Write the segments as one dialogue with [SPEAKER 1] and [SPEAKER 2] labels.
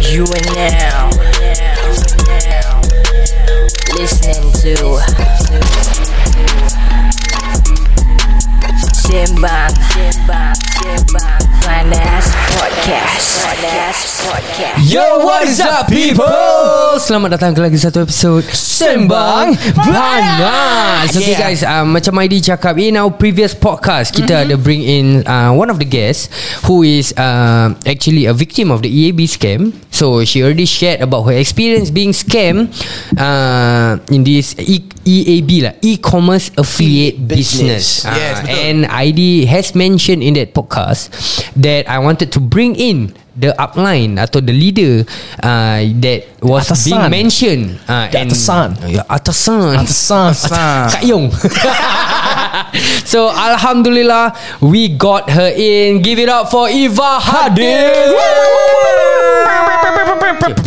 [SPEAKER 1] You are now listening to Simbang Panas Podcast Panas Podcast
[SPEAKER 2] Yo, what is up people? Selamat datang ke lagi satu episod Sembang Panas Okay
[SPEAKER 1] Yeah.
[SPEAKER 2] guys, um, macam Maidi cakap In our previous podcast Kita ada bring in uh, one of the guests Who is uh, actually a victim of the EAB scam So she already shared about her experience being scam uh, In this e- EAB lah E-commerce Affiliate Business,
[SPEAKER 3] Business.
[SPEAKER 2] Ah,
[SPEAKER 3] Yes, betul.
[SPEAKER 2] And ID has mentioned in that podcast That I wanted to bring in The upline Atau the leader uh, That was
[SPEAKER 3] Atasan.
[SPEAKER 2] being mentioned uh,
[SPEAKER 3] The atasan.
[SPEAKER 2] Ya, Atasan
[SPEAKER 3] Atasan
[SPEAKER 2] Kak Yong So Alhamdulillah We got her in Give it up for Eva Hadid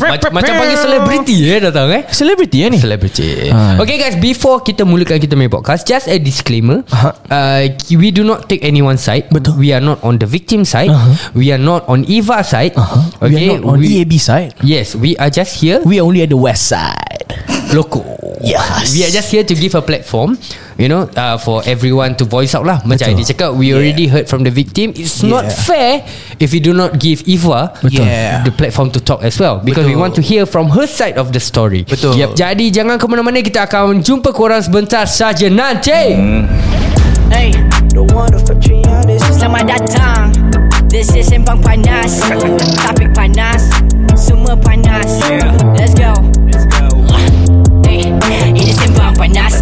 [SPEAKER 2] Macam, macam panggil selebriti eh datang eh
[SPEAKER 3] Celebrity ya ni
[SPEAKER 2] Celebrity
[SPEAKER 3] Ah.
[SPEAKER 2] Okay guys Before kita mulakan kita punya podcast Just a disclaimer
[SPEAKER 3] Aha.
[SPEAKER 2] uh, We do not take anyone's side
[SPEAKER 3] Ha. Betul.
[SPEAKER 2] We are not on the victim side
[SPEAKER 3] Aha.
[SPEAKER 2] We are not on Eva's side
[SPEAKER 3] uh-huh. We are not on
[SPEAKER 2] we-
[SPEAKER 3] EAB side
[SPEAKER 2] Yes We are just here
[SPEAKER 3] We are only at the west side
[SPEAKER 2] Loco
[SPEAKER 3] Yes.
[SPEAKER 2] We are just here to give a platform You know uh, For everyone to voice out lah Macam Adi
[SPEAKER 3] Betul.
[SPEAKER 2] cakap We already heard from the victim It's not
[SPEAKER 3] Yeah.
[SPEAKER 2] fair If we do not give Eva
[SPEAKER 3] Betul.
[SPEAKER 2] The platform to talk as well Because we
[SPEAKER 4] Betul.
[SPEAKER 2] want to hear From her side of the story
[SPEAKER 4] Betul.
[SPEAKER 2] Yep. Jadi jangan ke mana-mana Kita akan jumpa korang sebentar saja nanti
[SPEAKER 3] Hmm.
[SPEAKER 1] Hey Selamat datang This is Sembang Panas Topik panas Semua panas Let's go Hey, Ini Sembang Panas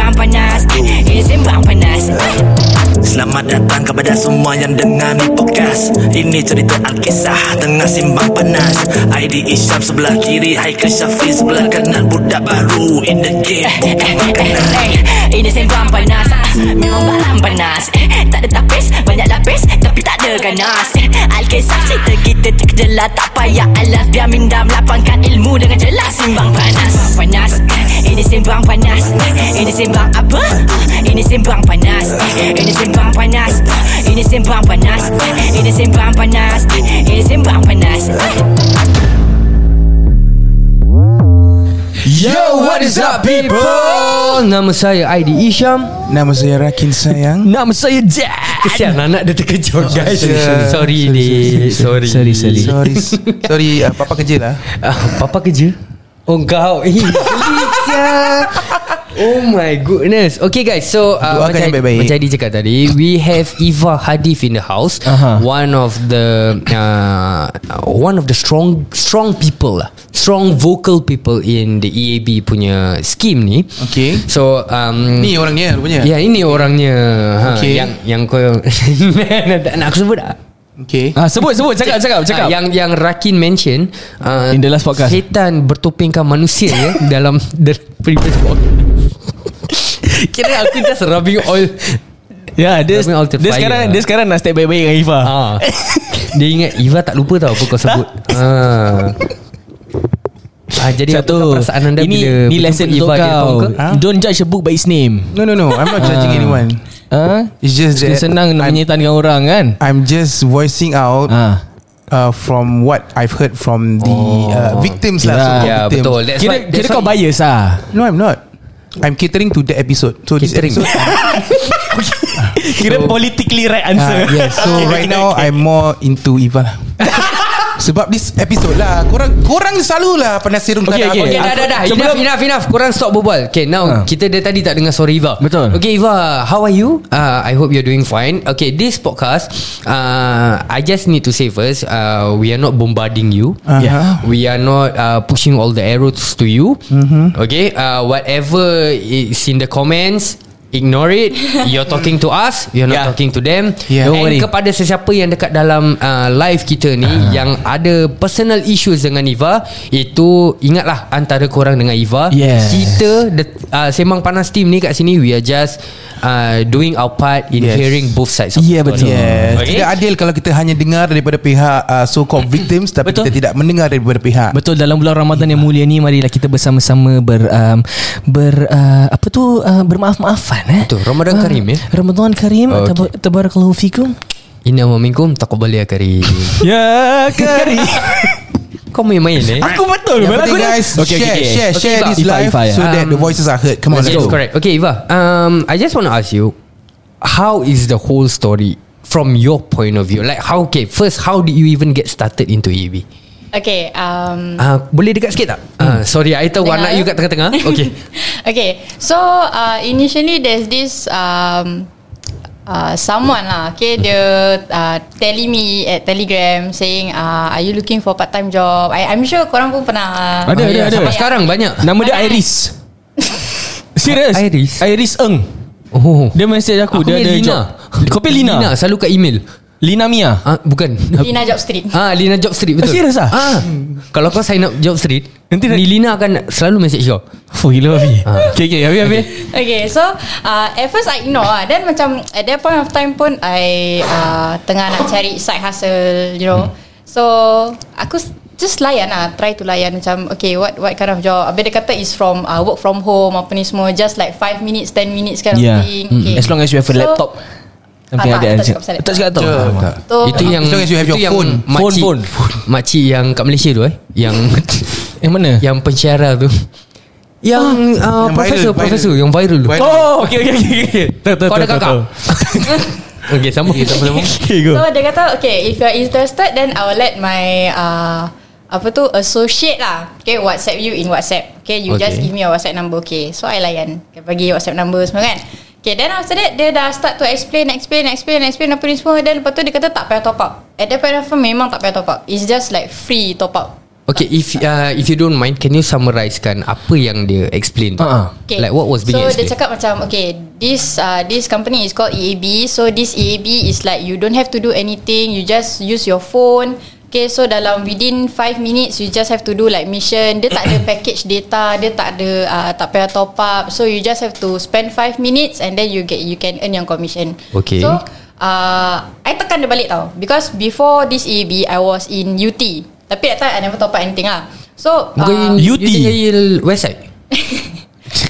[SPEAKER 1] Panas Ini Sembang Panas
[SPEAKER 5] Selamat datang kepada semua yang dengar ni podcast Ini cerita Alkisah tengah simbang panas ID Isyam sebelah kiri Haikal Syafi sebelah kanan Budak baru in the game Bukan makanan
[SPEAKER 1] Eh, Ini sembang panas Ah, Memang barang panas Eh, Tak ada tapis Banyak lapis Tapi tak ada ganas Eh, Alkisah cerita kita terkejelah Tak payah alas Biar minda melapangkan ilmu Dengan jelas Simbang panas Sembang panas Eh, Ini sembang panas Eh, Ini sembang apa? Ah, Ini sembang panas Eh, Ini sembang panas Ah, Ini sembang panas Eh, Ini sembang panas Eh, Ini sembang panas Eh.
[SPEAKER 2] Yo what is up people Nama saya Aidi Isham
[SPEAKER 3] Nama saya Rakin sayang Nama saya Jack
[SPEAKER 2] Kesian anak dia terkejut guys
[SPEAKER 4] sorry, sorry,
[SPEAKER 2] Sorry ni Sorry
[SPEAKER 3] Sorry, sorry.
[SPEAKER 4] Sorry Sorry uh, Papa kerja lah
[SPEAKER 2] Ah, Papa kerja Oh kau Eh, pelik sia. Oh my goodness Okay guys so uh,
[SPEAKER 4] Doakan yang baik-baik.
[SPEAKER 2] Macam Adi cakap tadi We have Eva Hadif in the house
[SPEAKER 3] Aha.
[SPEAKER 2] One of the uh, One of the strong Strong people lah Strong vocal people In the EAB punya Scheme ni
[SPEAKER 4] Okay.
[SPEAKER 2] So um,
[SPEAKER 4] Ni orangnya rupanya
[SPEAKER 2] Ya ini orangnya
[SPEAKER 4] Okay.
[SPEAKER 2] ha, Yang yang kau Nak aku sebut tak?
[SPEAKER 4] Okay
[SPEAKER 3] ah, Sebut sebut cakap cakap cakap
[SPEAKER 2] Ah, yang yang Rakin mention uh,
[SPEAKER 3] In the last podcast.
[SPEAKER 2] Setan bertopengkan manusia ya dalam the previous podcast. Kira aku just rubbing oil.
[SPEAKER 3] Ya dia,
[SPEAKER 2] Rubbing altar
[SPEAKER 3] dia
[SPEAKER 2] fire
[SPEAKER 3] sekarang
[SPEAKER 2] lah.
[SPEAKER 3] dia sekarang nak step baik-baik dengan Ifa
[SPEAKER 2] Ah. Dia ingat Iva tak lupa tau apa kau sebut. ah. Ah, jadi apakah perasaan anda
[SPEAKER 3] ini,
[SPEAKER 2] bila
[SPEAKER 3] Ni
[SPEAKER 2] berjumpa
[SPEAKER 3] lesson
[SPEAKER 2] Eva
[SPEAKER 3] untuk
[SPEAKER 2] di depan
[SPEAKER 3] kau Ah.
[SPEAKER 2] muka?
[SPEAKER 3] ha? Don't judge a book by its name
[SPEAKER 6] No no no I'm not judging anyone
[SPEAKER 3] ha?
[SPEAKER 6] It's Ah. just
[SPEAKER 3] Dia
[SPEAKER 6] that
[SPEAKER 3] senang nak
[SPEAKER 6] I'm,
[SPEAKER 3] menyetan dengan orang kan
[SPEAKER 6] I'm just voicing out
[SPEAKER 3] ha.
[SPEAKER 6] uh, From what I've heard from the uh, Victims lah
[SPEAKER 3] Yeah.
[SPEAKER 6] so-called
[SPEAKER 2] Ya,
[SPEAKER 6] victims.
[SPEAKER 2] betul. That's
[SPEAKER 3] Ah. Kira,
[SPEAKER 2] why,
[SPEAKER 3] kira
[SPEAKER 2] that's
[SPEAKER 3] kau
[SPEAKER 2] why-
[SPEAKER 3] bias lah
[SPEAKER 6] No I'm not I'm catering to that episode So
[SPEAKER 2] Catering.
[SPEAKER 6] this episode
[SPEAKER 3] Kira politically right
[SPEAKER 6] uh, yes. So right now I'm more into Eva lah Sebab this episode lah Korang korang selalu lah Penasirum
[SPEAKER 3] Okay, okay.
[SPEAKER 2] Okay, dah, dah, dah. Enough,
[SPEAKER 3] Sebelum-
[SPEAKER 2] enough, enough. Korang stop berbual. Okay, now
[SPEAKER 3] Ha.
[SPEAKER 2] kita dari tadi tak dengar suara Iva.
[SPEAKER 3] Betul.
[SPEAKER 2] Okay, Iva, how are you? Uh, I hope you're doing fine. Okay, this podcast, uh, I just need to say first, uh, we are not bombarding you.
[SPEAKER 6] Uh-huh.
[SPEAKER 3] Yeah.
[SPEAKER 2] We are not uh, pushing all the arrows to you. Mm-hmm. Okay, uh, whatever is in the comments, ignore it. You're talking to us, you're not
[SPEAKER 3] Yeah.
[SPEAKER 2] talking to them.
[SPEAKER 6] Yeah.
[SPEAKER 2] And
[SPEAKER 6] Don't worry. Ah.
[SPEAKER 2] kepada sesiapa yang dekat dalam uh, live kita ni uh. yang ada personal issues dengan Iva, itu ingatlah antara korang dengan Iva.
[SPEAKER 3] Yes.
[SPEAKER 2] Kita the, uh, Sembang Panas team ni kat sini we are just uh, doing our part in yes.
[SPEAKER 6] Yes.
[SPEAKER 2] hearing both sides of
[SPEAKER 3] Yeah,
[SPEAKER 2] the story.
[SPEAKER 3] betul.
[SPEAKER 6] Yes.
[SPEAKER 2] Okay.
[SPEAKER 6] Okay. Tidak adil kalau kita hanya dengar daripada pihak uh, so-called victims tapi
[SPEAKER 3] Betul.
[SPEAKER 6] kita tidak mendengar daripada pihak.
[SPEAKER 3] Betul dalam bulan Ramadan yang mulia ni marilah kita bersama-sama ber um, ber uh, apa tu uh, bermaaf-maafan. Ramadan eh.
[SPEAKER 2] Betul, Ramadan
[SPEAKER 3] Ah,
[SPEAKER 2] Karim, ya?
[SPEAKER 3] Ramadan Karim
[SPEAKER 2] Oh,
[SPEAKER 3] okay. tabarakallahu fikum.
[SPEAKER 2] Inna wa minkum taqabbal ya karim.
[SPEAKER 3] Ya Karim.
[SPEAKER 2] Kau main-main eh.
[SPEAKER 3] Aku betul.
[SPEAKER 6] Yang
[SPEAKER 3] Bel,
[SPEAKER 6] penting
[SPEAKER 3] aku dah-
[SPEAKER 6] guys
[SPEAKER 3] Okay, okay,
[SPEAKER 6] Share
[SPEAKER 3] okay.
[SPEAKER 6] share
[SPEAKER 2] Okay,
[SPEAKER 6] share
[SPEAKER 2] Ifah,
[SPEAKER 6] this
[SPEAKER 3] Ifah,
[SPEAKER 6] live
[SPEAKER 3] Ifah, ya.
[SPEAKER 6] So that the voices are heard Come on let's
[SPEAKER 2] yes,
[SPEAKER 6] go
[SPEAKER 2] correct. Okay, Iva. Um, I just want to ask you, how is the whole story from your point of view? Like, how? Okay, first, how did you even get started into EB?
[SPEAKER 7] Okay um,
[SPEAKER 2] Uh, boleh dekat sikit tak? Uh,
[SPEAKER 3] Hmm.
[SPEAKER 2] sorry, I tahu warna
[SPEAKER 7] Tengah,
[SPEAKER 2] you
[SPEAKER 7] eh?
[SPEAKER 2] kat tengah-tengah. Okay.
[SPEAKER 7] Okay So uh, Initially there's this um, uh, Someone lah Okay Dia uh, Telling me At telegram Saying uh, Are you looking for part time job I, I'm sure korang pun pernah
[SPEAKER 2] Ah,
[SPEAKER 3] Ada, ada,
[SPEAKER 2] ya,
[SPEAKER 3] ada.
[SPEAKER 2] Sampai sekarang banyak.
[SPEAKER 3] Nama dia Iris. Serius?
[SPEAKER 2] Iris?
[SPEAKER 3] Iris Eng.
[SPEAKER 2] Oh.
[SPEAKER 3] Dia message
[SPEAKER 2] Aku
[SPEAKER 3] aku, dia
[SPEAKER 2] punya
[SPEAKER 3] ada
[SPEAKER 2] Lina.
[SPEAKER 3] job. Kau pilih Lina?
[SPEAKER 2] Lina, selalu kat email.
[SPEAKER 3] Lina Mia.
[SPEAKER 2] Ah, bukan.
[SPEAKER 7] Lina Job Street
[SPEAKER 2] Ah, Lina Job Street betul.
[SPEAKER 3] Ah, serious ah?
[SPEAKER 2] Ah. Kalau kau sign up Job Street, nanti
[SPEAKER 3] Nanti dah-
[SPEAKER 2] ni Lina akan selalu message kau.
[SPEAKER 3] Fuh gila Abi. Okay, okay, Abi, Abi.
[SPEAKER 7] Okay so uh, At first I ignore lah Then macam At that point of time pun I uh, Tengah nak cari side hustle You know
[SPEAKER 3] Hmm.
[SPEAKER 7] So Aku s- Just layan lah Try to layan Macam okay What what kind of job Habis dia kata is from uh, Work from home Apa ni semua Just like 5 minutes 10 minutes kind of
[SPEAKER 3] Yeah.
[SPEAKER 7] thing
[SPEAKER 3] Mm. As long as you have a laptop. Something like
[SPEAKER 7] Ah, tak,
[SPEAKER 3] that.
[SPEAKER 7] tak cakap pasal
[SPEAKER 3] Tak cakap Ah. tau.
[SPEAKER 6] Tak.
[SPEAKER 7] So,
[SPEAKER 2] Itu yang
[SPEAKER 6] As long as you have
[SPEAKER 2] itu
[SPEAKER 6] your
[SPEAKER 2] yang
[SPEAKER 6] phone.
[SPEAKER 2] makcik-
[SPEAKER 3] Phone,
[SPEAKER 2] Makcik yang kat Malaysia tu eh, yang
[SPEAKER 3] Yang mana? Ah.
[SPEAKER 2] yang pensyarah tu. Yang, uh,
[SPEAKER 6] yang
[SPEAKER 2] profesor,
[SPEAKER 6] viral,
[SPEAKER 2] profesor yang viral tu.
[SPEAKER 6] Viral.
[SPEAKER 3] Oh, okay, okay, okay. okay. Tahu, tahu,
[SPEAKER 2] Kau ada
[SPEAKER 3] tahu,
[SPEAKER 2] kakak?
[SPEAKER 3] tahu.
[SPEAKER 2] okay, sama.
[SPEAKER 3] Okay, go.
[SPEAKER 7] So dia kata Okay if you're interested Then I will let my uh, Apa tu Associate lah Okay whatsapp you in whatsapp Okay you
[SPEAKER 2] Okay.
[SPEAKER 7] okay. just give me your whatsapp number Okay so I layan okay, Bagi whatsapp number semua kan Okay then after that Dia dah start to explain Explain explain explain Apa ni semua Then lepas tu dia kata Tak payah top up At that point of time Memang tak payah top up It's just like free top up
[SPEAKER 2] Okay, if uh, if you don't mind, can you summarisekan apa yang dia explain tu?
[SPEAKER 3] Ah, ah.
[SPEAKER 7] Okay.
[SPEAKER 2] Like what was being
[SPEAKER 7] so dia
[SPEAKER 2] explained?
[SPEAKER 7] cakap macam okay this uh, this company is called EAB so this EAB is like you don't have to do anything you just use your phone okay so dalam within 5 minutes you just have to do like mission dia tak ada package data dia tak ada uh, tak payah top up so you just have to spend 5 minutes and then you get you can earn your commission
[SPEAKER 2] Okay.
[SPEAKER 7] so uh, I tekan dia balik tau because before this EAB I was in UT tapi that time I never top up anything lah so
[SPEAKER 2] Bukan uh,
[SPEAKER 3] Ah.
[SPEAKER 2] UT
[SPEAKER 3] UT.
[SPEAKER 2] Yale Westside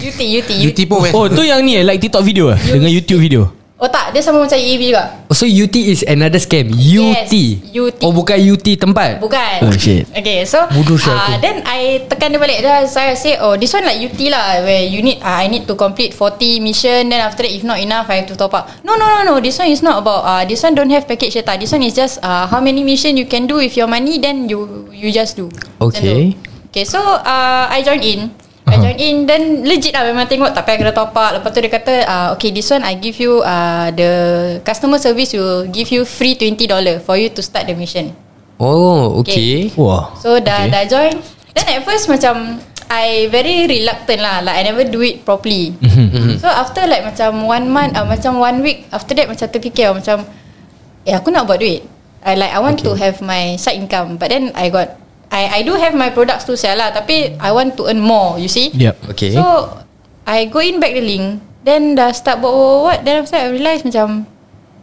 [SPEAKER 7] UT UT UT
[SPEAKER 6] Beauty pun
[SPEAKER 3] Oh, tu yang ni eh, like TikTok video eh? Dengan YouTube video.
[SPEAKER 7] Oh tak, dia sama macam EAB juga
[SPEAKER 2] Oh, So UT is another scam UT
[SPEAKER 7] UT.
[SPEAKER 2] Oh bukan UT tempat
[SPEAKER 7] Bukan
[SPEAKER 3] Oh, shit.
[SPEAKER 7] Okay so
[SPEAKER 2] Bodoh sial
[SPEAKER 7] uh,
[SPEAKER 2] aku.
[SPEAKER 7] Then I tekan dia balik Then saya say Oh this one like UT lah Where you need uh, I need to complete 40 mission Then after that If not enough I have to top up No no no no This one is not about uh, This one don't have package data This one is just uh, How many mission you can do With your money Then you you just do Macam
[SPEAKER 2] Okay.
[SPEAKER 7] tu. Okay so uh, I join in I join in Then legit lah Memang tengok tak payah kena top up Lepas tu dia kata uh, Okay this one I give you uh, The customer service will give you Free $20 For you to start the mission
[SPEAKER 2] Oh okay,
[SPEAKER 3] Wah.
[SPEAKER 7] So dah
[SPEAKER 3] Okay.
[SPEAKER 7] okay. dah join Then at first macam I very reluctant lah Like I never do it properly So after like macam One month uh, Macam one week After that macam terfikir Macam Eh aku nak buat duit I like I want okay. to have my side income But then I got I I do have my products to sell lah Tapi I want to earn more You see
[SPEAKER 3] Yep.
[SPEAKER 2] Okay
[SPEAKER 7] So I go in back the link Then dah start buat buat, buat, buat Then after that I realise macam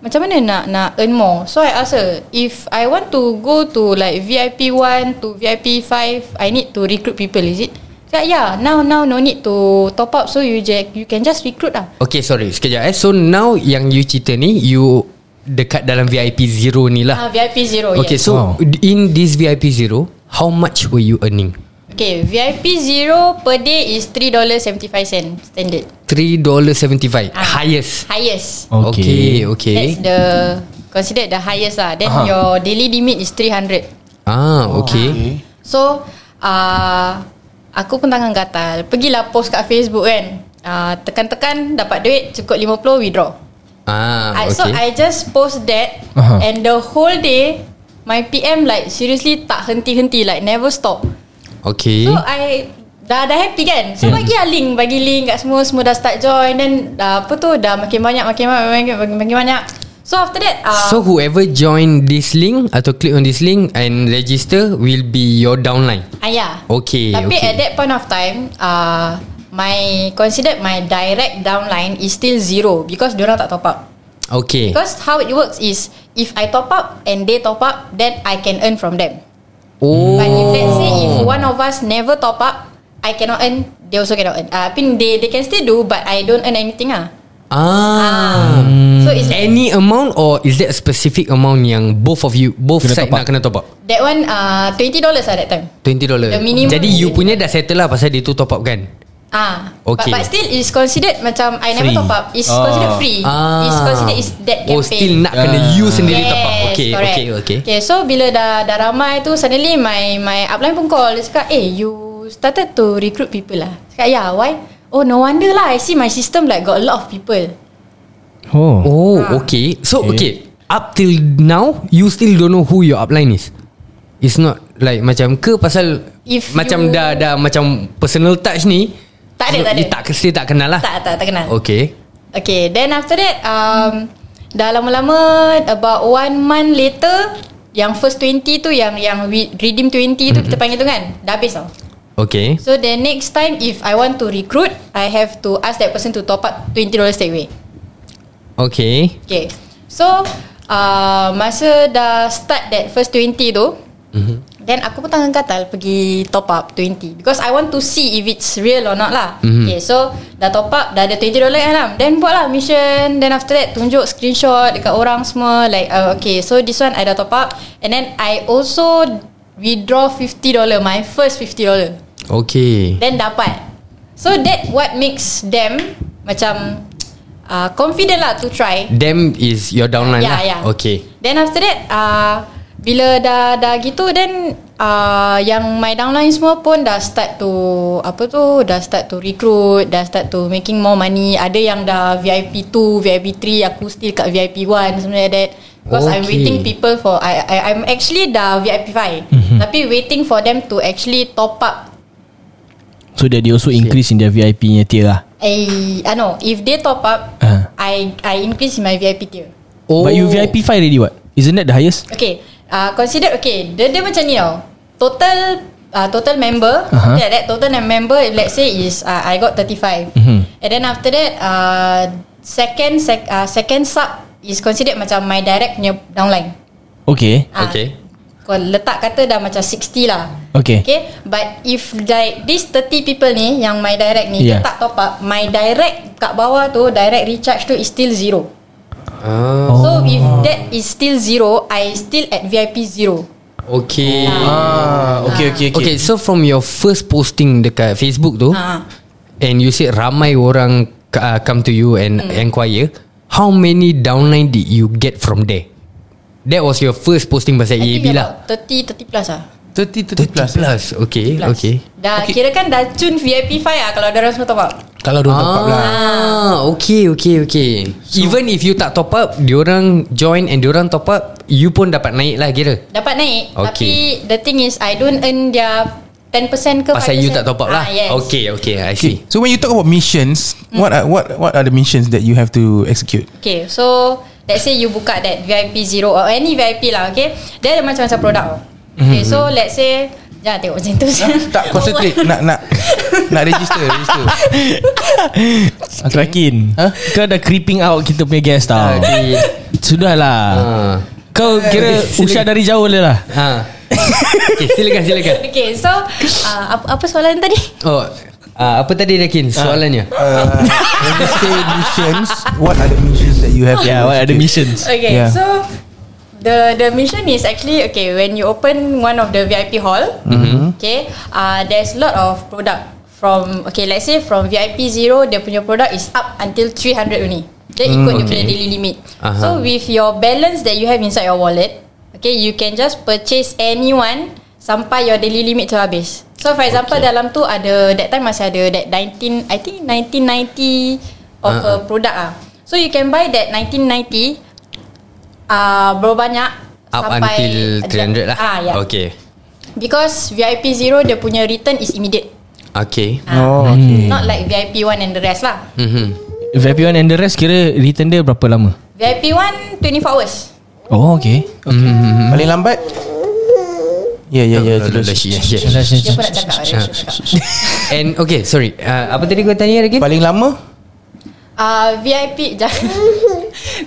[SPEAKER 7] Macam mana nak nak earn more So I ask her If I want to go to like VIP 1 to VIP 5 I need to recruit people is it? Cakap yeah Now now no need to top up So you je, you can just recruit lah
[SPEAKER 2] Okay sorry sekejap eh So now yang you cerita ni You dekat dalam VIP zero ni lah
[SPEAKER 7] Ah VIP 0
[SPEAKER 2] Okay
[SPEAKER 7] yes.
[SPEAKER 2] so in this VIP zero How much were you earning?
[SPEAKER 7] Okay VIP 0 per day is $3.75 standard
[SPEAKER 2] $3.75
[SPEAKER 7] Ah.
[SPEAKER 2] Highest
[SPEAKER 7] Highest
[SPEAKER 2] Okay
[SPEAKER 3] Okay.
[SPEAKER 2] okay
[SPEAKER 7] That's the Considered the highest lah Then your daily limit is 300
[SPEAKER 2] Ah okay
[SPEAKER 7] So uh, Aku pun tangan gatal Pergilah post kat Facebook kan uh, Tekan-tekan Dapat duit Cukup 50 withdraw
[SPEAKER 2] Ah
[SPEAKER 7] I, So
[SPEAKER 2] okay
[SPEAKER 7] I just post that
[SPEAKER 3] Aha.
[SPEAKER 7] And the whole day My PM like Seriously tak henti-henti Like never stop
[SPEAKER 2] Okay
[SPEAKER 7] So I Dah dah happy kan So bagi lah link Bagi link kat semua Semua dah start join Then uh, apa tu Dah makin banyak Makin banyak Makin, makin, makin banyak So after that uh,
[SPEAKER 2] So whoever join this link atau click on this link and register will be your downline.
[SPEAKER 7] Ah, yeah.
[SPEAKER 2] Okay,
[SPEAKER 7] Tapi
[SPEAKER 2] okay.
[SPEAKER 7] at that point of time, uh, my considered my direct downline is still zero because diorang tak top up.
[SPEAKER 2] Okay.
[SPEAKER 7] Because how it works is if I top up and they top up, then I can earn from them.
[SPEAKER 2] Oh.
[SPEAKER 7] But if let's say if one of us never top up, I cannot earn. They also cannot earn. Uh, I mean they they can still do, but I don't earn anything ah.
[SPEAKER 2] Ah.
[SPEAKER 7] So it's
[SPEAKER 2] Any amount or is there a specific amount yang both of you both
[SPEAKER 3] Kena
[SPEAKER 2] kena side
[SPEAKER 3] top up.
[SPEAKER 2] nak kena top up?
[SPEAKER 7] that one uh, $20 lah that time.
[SPEAKER 2] $20.
[SPEAKER 7] The minimum
[SPEAKER 2] Jadi you
[SPEAKER 7] is-
[SPEAKER 2] punya dah settle lah pasal dia tu top up kan?
[SPEAKER 7] Ah,
[SPEAKER 2] Okay. Ah.
[SPEAKER 7] okay. but, but still is considered macam I never
[SPEAKER 3] Free.
[SPEAKER 7] top up. It's considered free. It's considered is that campaign.
[SPEAKER 2] Oh still nak kena
[SPEAKER 3] Ah.
[SPEAKER 2] you sendiri top up. Okay,
[SPEAKER 7] correct.
[SPEAKER 2] okay, okay.
[SPEAKER 7] Okay, so bila dah dah ramai tu suddenly my my upline pun call dia cakap, "Eh, you started to recruit people lah." Cakap, "Yeah, why?" Oh, no wonder lah. I see my system like got a lot of people.
[SPEAKER 3] Oh.
[SPEAKER 2] Oh, okay. So okay. up till now you still don't know who your upline is. It's not like macam ke pasal
[SPEAKER 7] If
[SPEAKER 2] macam
[SPEAKER 7] you-
[SPEAKER 2] dah dah macam personal touch ni.
[SPEAKER 7] Tak ada,
[SPEAKER 2] you-
[SPEAKER 7] tak ada.
[SPEAKER 2] you Tak still tak kenal lah.
[SPEAKER 7] Tak tak tak kenal.
[SPEAKER 2] Okay.
[SPEAKER 7] Okay, then after that um, Dah lama-lama About one month later Yang first 20 tu Yang yang we- redeem 20 tu Kita panggil tu kan Dah habis tau
[SPEAKER 2] Okay.
[SPEAKER 7] So the next time If I want to recruit I have to ask that person To top up $20 straight away
[SPEAKER 2] Okay.
[SPEAKER 7] Okay So uh, Masa dah start that first 20 tu Then aku pun tangan katal Pergi top up 20 Because I want to see If it's real or not lah Okay so Dah top up Dah ada $20 kan lah Then buat lah mission Then after that Tunjuk screenshot Dekat orang semua Like uh, okay So this one I dah top up And then I also Withdraw $50 My first $50
[SPEAKER 2] Okay.
[SPEAKER 7] Then dapat So that what makes them Macam uh, Confident lah to try
[SPEAKER 2] Them is your downline
[SPEAKER 7] Yeah,
[SPEAKER 2] lah.
[SPEAKER 7] yeah.
[SPEAKER 2] Okay.
[SPEAKER 7] Ya, Then after that uh, Bila dah dah gitu Then uh, Yang my downline semua pun Dah start to Apa tu Dah start to recruit Dah start to making more money Ada yang dah VIP 2 VIP 3 Aku still kat VIP 1 Something like that Because okay. I'm
[SPEAKER 2] Okay.
[SPEAKER 7] waiting people for I, I I'm actually dah VIP 5
[SPEAKER 2] Mhm.
[SPEAKER 7] mm-hmm. Tapi waiting for them to actually top up
[SPEAKER 3] So that they also increase in their VIP nya tier lah.
[SPEAKER 7] I I know ah, if they top up,
[SPEAKER 3] Ah.
[SPEAKER 7] I I increase my VIP tier.
[SPEAKER 2] Oh.
[SPEAKER 3] But you VIP 5 already what? Isn't that the highest?
[SPEAKER 7] Okay, uh, consider okay. Dia dia macam ni tau. Total uh, total member,
[SPEAKER 3] Aha.
[SPEAKER 7] uh-huh. yeah, that total member let's say is uh, I got 35.
[SPEAKER 3] Mhm.
[SPEAKER 7] And then after that, uh, second sec, uh, second sub is considered macam my direct punya downline.
[SPEAKER 3] Okay.
[SPEAKER 2] Oh.
[SPEAKER 7] Ah,
[SPEAKER 2] Okay.
[SPEAKER 7] Kau letak kata dah macam 60 lah.
[SPEAKER 3] Okay.
[SPEAKER 7] Okay. But if like this 30 people ni yang my direct ni
[SPEAKER 3] Yeah.
[SPEAKER 7] yeah. tak top up, my direct kat bawah tu direct recharge tu is still zero.
[SPEAKER 2] Ah.
[SPEAKER 7] Oh. So if that is still zero, I still at VIP zero.
[SPEAKER 2] Okay.
[SPEAKER 6] Ah, okay, okay,
[SPEAKER 2] Okay,
[SPEAKER 6] okay.
[SPEAKER 2] so from your first posting dekat Facebook tu,
[SPEAKER 3] Oh.
[SPEAKER 7] Ah.
[SPEAKER 2] and you said ramai orang uh, come to you and inquire, how many downline did you get from there? That was your first posting pasal
[SPEAKER 7] I think
[SPEAKER 2] EAB lah.
[SPEAKER 7] about 30 30 plus lah.
[SPEAKER 6] 30
[SPEAKER 2] 30 plus. plus. Okay, plus. okay.
[SPEAKER 7] Dah okay. kira kan dah cun VIP 5 lah kalau dia orang semua top up.
[SPEAKER 6] Kalau dia top up lah.
[SPEAKER 2] Ah, okay, okay, okay. So, Even if you tak top up, diorang join and diorang top up, you pun dapat naik lah kira.
[SPEAKER 7] Dapat naik.
[SPEAKER 2] Okay.
[SPEAKER 7] Okay. Tapi the thing is I don't earn their 10% ke
[SPEAKER 2] Pasal you
[SPEAKER 7] 5%.
[SPEAKER 2] tak top up lah.
[SPEAKER 7] Ah, yes.
[SPEAKER 2] Okay, okay, I see.
[SPEAKER 6] Okay. So when you talk about missions,
[SPEAKER 3] Hmm.
[SPEAKER 6] what are, what what are the missions that you have to execute?
[SPEAKER 7] Okay so Let's say you buka that VIP zero Or any VIP lah okay Dia ada macam-macam produk tau.
[SPEAKER 2] Mm-hmm.
[SPEAKER 7] Okay so let's say Jangan tengok macam tu
[SPEAKER 6] Ah, Tak concentrate nak nak nak register register.
[SPEAKER 3] Atrakin huh? Ah, Kau dah creeping out Kita punya guest
[SPEAKER 6] Ah.
[SPEAKER 3] tau
[SPEAKER 2] Okay.
[SPEAKER 3] Sudahlah
[SPEAKER 2] Ah.
[SPEAKER 3] Kau kira
[SPEAKER 2] Okay,
[SPEAKER 3] Usha dari jauh le lah
[SPEAKER 2] Ah. Okay, silakan, silakan.
[SPEAKER 7] Okay so uh, apa, apa soalan tadi?
[SPEAKER 2] Oh, uh, apa tadi Dakin soalannya?
[SPEAKER 6] Uh, when you say missions, what are the missions that you have? to
[SPEAKER 3] Yeah Ya, what are the
[SPEAKER 6] execute?
[SPEAKER 3] missions
[SPEAKER 7] Okay
[SPEAKER 6] Yeah.
[SPEAKER 7] so The the mission is actually Okay when you open one of the VIP hall Okay uh, There's lot of product From Okay let's say from VIP zero Dia punya product is up until 300 only Dia ikut dia punya
[SPEAKER 2] okay.
[SPEAKER 7] daily limit
[SPEAKER 2] Aha.
[SPEAKER 7] So with your balance that you have inside your wallet Okay you can just purchase anyone Sampai your daily limit tu habis So for example okay. dalam tu ada That time masih ada that 19 I think 1990 Of uh-huh. a product ah. So you can buy that 1990 uh, Berapa banyak
[SPEAKER 2] Up until 300 lah.
[SPEAKER 7] ah, yeah. okay.
[SPEAKER 2] Okay.
[SPEAKER 7] Because VIP Zero Dia punya return is immediate
[SPEAKER 2] Okay.
[SPEAKER 7] oh, okay. Not like VIP 1 and the rest lah
[SPEAKER 2] Mm-hmm.
[SPEAKER 3] VIP one and the rest Kira return dia berapa lama
[SPEAKER 7] VIP 1 24 hours
[SPEAKER 3] Oh okay Mm-hmm.
[SPEAKER 6] Paling lambat. Ya ya ya.
[SPEAKER 3] Eh,
[SPEAKER 2] yeah.
[SPEAKER 7] Dia pun nak cakap ada issue cakap.
[SPEAKER 2] And okay, sorry. Uh, apa tadi kau tanya lagi?
[SPEAKER 6] Paling lama?
[SPEAKER 7] Ah, VIP jangan.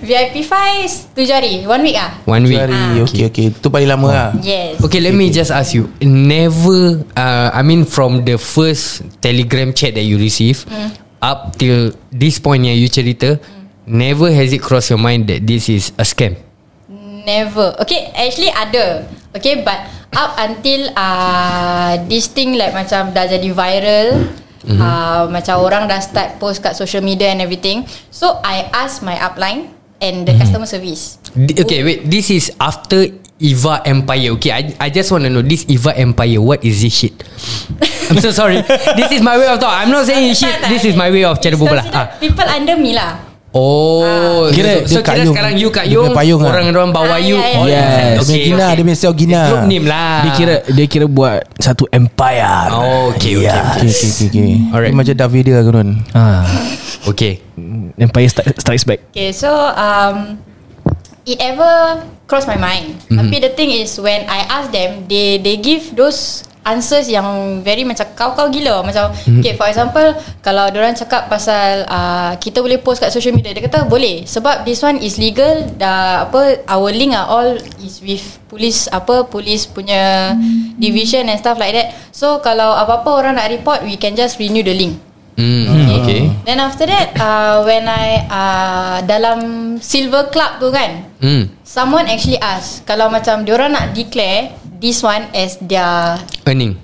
[SPEAKER 7] VIP 5 7 hari One week ah
[SPEAKER 2] One week.
[SPEAKER 6] Hari. Okay okay. Itu paling lama lah.
[SPEAKER 7] Yes
[SPEAKER 2] Okay, let me just ask you. Never, uh, I mean, from the first telegram chat that you receive, up till this point yang you cerita, never has it crossed your mind that this is a scam?
[SPEAKER 7] Never. Okay, actually ada. Okay, but up until uh, this thing like macam dah jadi viral,
[SPEAKER 2] Mhm.
[SPEAKER 7] mm-hmm. uh, macam orang dah start post kat social media and everything. So I ask my upline and
[SPEAKER 2] Mhm.
[SPEAKER 7] the mm-hmm. customer service.
[SPEAKER 2] Di- Okay, wait. This is after Eva Empire. Okay, I, I just want to know this Eva Empire. What is this shit? I'm so sorry. this is my way of thought. I'm not saying Eh, shit.
[SPEAKER 7] Tak, tak,
[SPEAKER 2] This is my way of cara
[SPEAKER 7] it's
[SPEAKER 2] berbual. lah.
[SPEAKER 7] considered
[SPEAKER 2] Ah.
[SPEAKER 7] People under me lah.
[SPEAKER 2] Oh,
[SPEAKER 3] Kira
[SPEAKER 2] so, so
[SPEAKER 6] dia Kak
[SPEAKER 2] kira
[SPEAKER 6] Yung.
[SPEAKER 2] sekarang you kat
[SPEAKER 6] Dia punya
[SPEAKER 2] Yung,
[SPEAKER 6] payung lah.
[SPEAKER 2] orang orang bawa
[SPEAKER 7] Ah,
[SPEAKER 2] you. Oh,
[SPEAKER 7] ya, ya,
[SPEAKER 2] all
[SPEAKER 3] ya.
[SPEAKER 2] inside.
[SPEAKER 6] Dia punya Gina Dia punya Seo Gina
[SPEAKER 2] Group name lah.
[SPEAKER 3] Dia kira Dia kira buat Satu empire
[SPEAKER 2] Oh, okay, okay,
[SPEAKER 6] Okay okay okay, okay.
[SPEAKER 2] Alright.
[SPEAKER 6] Dia macam David dia kan
[SPEAKER 3] Ah,
[SPEAKER 2] Okay.
[SPEAKER 3] Empire stri- Strikes Back
[SPEAKER 7] Okay, so um, it ever crossed my mind. Mm-hmm. Tapi the thing is when I ask them, they they give those answers yang very macam kau-kau gila. Macam mm-hmm. okay, for example, kalau orang cakap pasal uh, kita boleh post kat social media, dia kata boleh sebab this one is legal. Dah apa our link are all is with police apa police punya division and stuff like that. So kalau apa-apa orang nak report, we can just renew the link.
[SPEAKER 6] Hmm.
[SPEAKER 2] Mm, okay.
[SPEAKER 7] Then after that uh, When I uh, Dalam Silver Club tu kan
[SPEAKER 2] Mm.
[SPEAKER 7] Someone actually ask Kalau macam Diorang nak declare This one as their
[SPEAKER 2] Earning.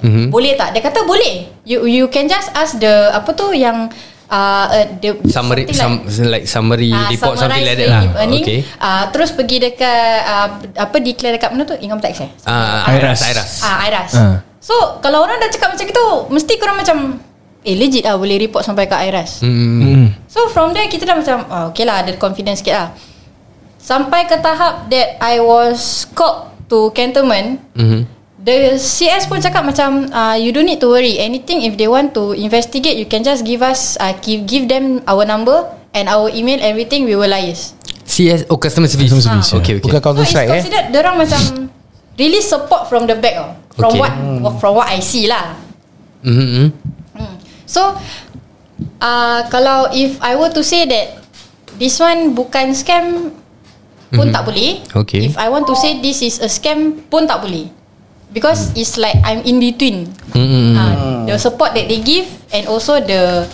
[SPEAKER 2] Mhm.
[SPEAKER 7] mm-hmm. Boleh tak Dia kata boleh You you can just ask the Apa tu Yang uh, uh, the,
[SPEAKER 2] Summary
[SPEAKER 7] something
[SPEAKER 2] some, like, summary
[SPEAKER 7] Ah,
[SPEAKER 2] report something
[SPEAKER 7] summarize
[SPEAKER 2] like that lah.
[SPEAKER 7] the Earning,
[SPEAKER 2] Okay.
[SPEAKER 7] uh, terus pergi dekat uh, Apa declare dekat mana tu Income tax eh
[SPEAKER 2] Ah,
[SPEAKER 3] Iras.
[SPEAKER 2] Iras, Iras.
[SPEAKER 7] Ah, Iras.
[SPEAKER 3] Ah.
[SPEAKER 7] So, kalau orang dah cakap macam gitu, mesti korang macam eh legit lah boleh report sampai kat Iras.
[SPEAKER 2] Hmm.
[SPEAKER 7] So from there kita dah macam oh, okay lah ada confidence sikit lah. Sampai ke tahap that I was called to cantonment
[SPEAKER 2] Mhm.
[SPEAKER 7] The CS pun cakap macam uh, You don't need to worry Anything if they want to investigate You can just give us uh, give, give them our number And our email Everything we will liaise
[SPEAKER 2] CS oh customer service.
[SPEAKER 3] Customer service,
[SPEAKER 2] Ah,
[SPEAKER 3] ya.
[SPEAKER 2] Okay, okay.
[SPEAKER 6] Bukan
[SPEAKER 7] So
[SPEAKER 6] counter
[SPEAKER 7] it's
[SPEAKER 6] strike eh
[SPEAKER 7] considered eh? Orang macam Really support from the back oh. From
[SPEAKER 2] Okay.
[SPEAKER 7] what From what I see lah
[SPEAKER 2] Mm-hmm.
[SPEAKER 7] Hmm. So uh, Kalau if I were to say that This one bukan scam Pun tak boleh
[SPEAKER 2] Mhm. Okay.
[SPEAKER 7] If I want to say this is a scam Pun tak boleh Because
[SPEAKER 2] Hmm.
[SPEAKER 7] it's like I'm in between
[SPEAKER 2] Mm-hmm.
[SPEAKER 7] uh, The support that they give And also the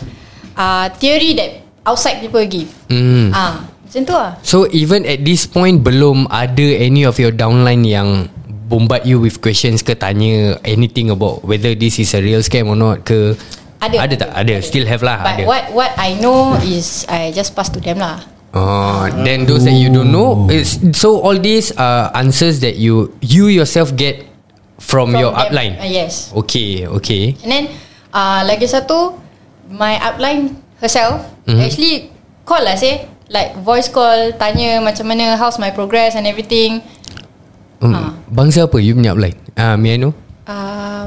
[SPEAKER 7] uh, Theory that Outside people give
[SPEAKER 2] Mm.
[SPEAKER 7] Ah, Macam tu lah
[SPEAKER 2] So even at this point belum ada any of your downline yang bombard you with questions ke tanya anything about whether this is a real scam or not ke
[SPEAKER 7] Ada.
[SPEAKER 2] ada tak ada, still have lah
[SPEAKER 7] But
[SPEAKER 2] ada
[SPEAKER 7] what what I know is I just pass to them lah
[SPEAKER 2] oh then those that you don't know
[SPEAKER 3] Oh.
[SPEAKER 2] is so all these are answers that you you yourself get from, your
[SPEAKER 7] them.
[SPEAKER 2] upline
[SPEAKER 7] Ah, Yes
[SPEAKER 2] okay okay
[SPEAKER 7] And then uh, Lagi satu My upline Herself mm-hmm. Actually Call lah say Like voice call Tanya macam mana How's my progress And everything
[SPEAKER 2] hmm.
[SPEAKER 7] Ah.
[SPEAKER 2] bangsa apa you punya upline ah uh, may I know
[SPEAKER 7] um,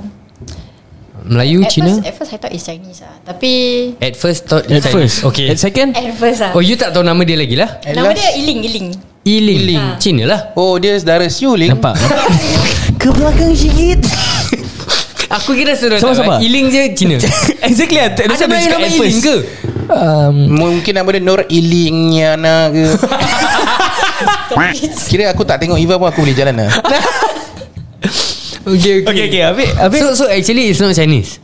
[SPEAKER 2] Melayu
[SPEAKER 7] at,
[SPEAKER 2] Cina
[SPEAKER 7] first, at first I thought it's Chinese lah Tapi
[SPEAKER 2] at first thought
[SPEAKER 3] At
[SPEAKER 2] Chinese.
[SPEAKER 3] first
[SPEAKER 2] okay
[SPEAKER 3] At second
[SPEAKER 7] At first lah
[SPEAKER 2] oh you tak tahu nama dia lagi lah
[SPEAKER 6] At
[SPEAKER 7] Nama
[SPEAKER 6] last-
[SPEAKER 7] dia Iling Iling
[SPEAKER 2] Iling, Iling. Cina lah
[SPEAKER 6] Oh dia saudara Siu Ling
[SPEAKER 3] Nampak Ke belakang sikit
[SPEAKER 2] Aku kira sudah
[SPEAKER 3] Sabar, sabar.
[SPEAKER 2] eh, Iling je Cina
[SPEAKER 3] Exactly lah
[SPEAKER 2] Ada Melayu nama Iling ke?
[SPEAKER 3] um,
[SPEAKER 6] Hmm. Mungkin nama dia Nur Ilingiana ke Kira aku tak tengok Iva pun aku boleh jalan lah
[SPEAKER 2] Okay okay,
[SPEAKER 3] Okay okay Habis, habis
[SPEAKER 2] So so actually it's not Chinese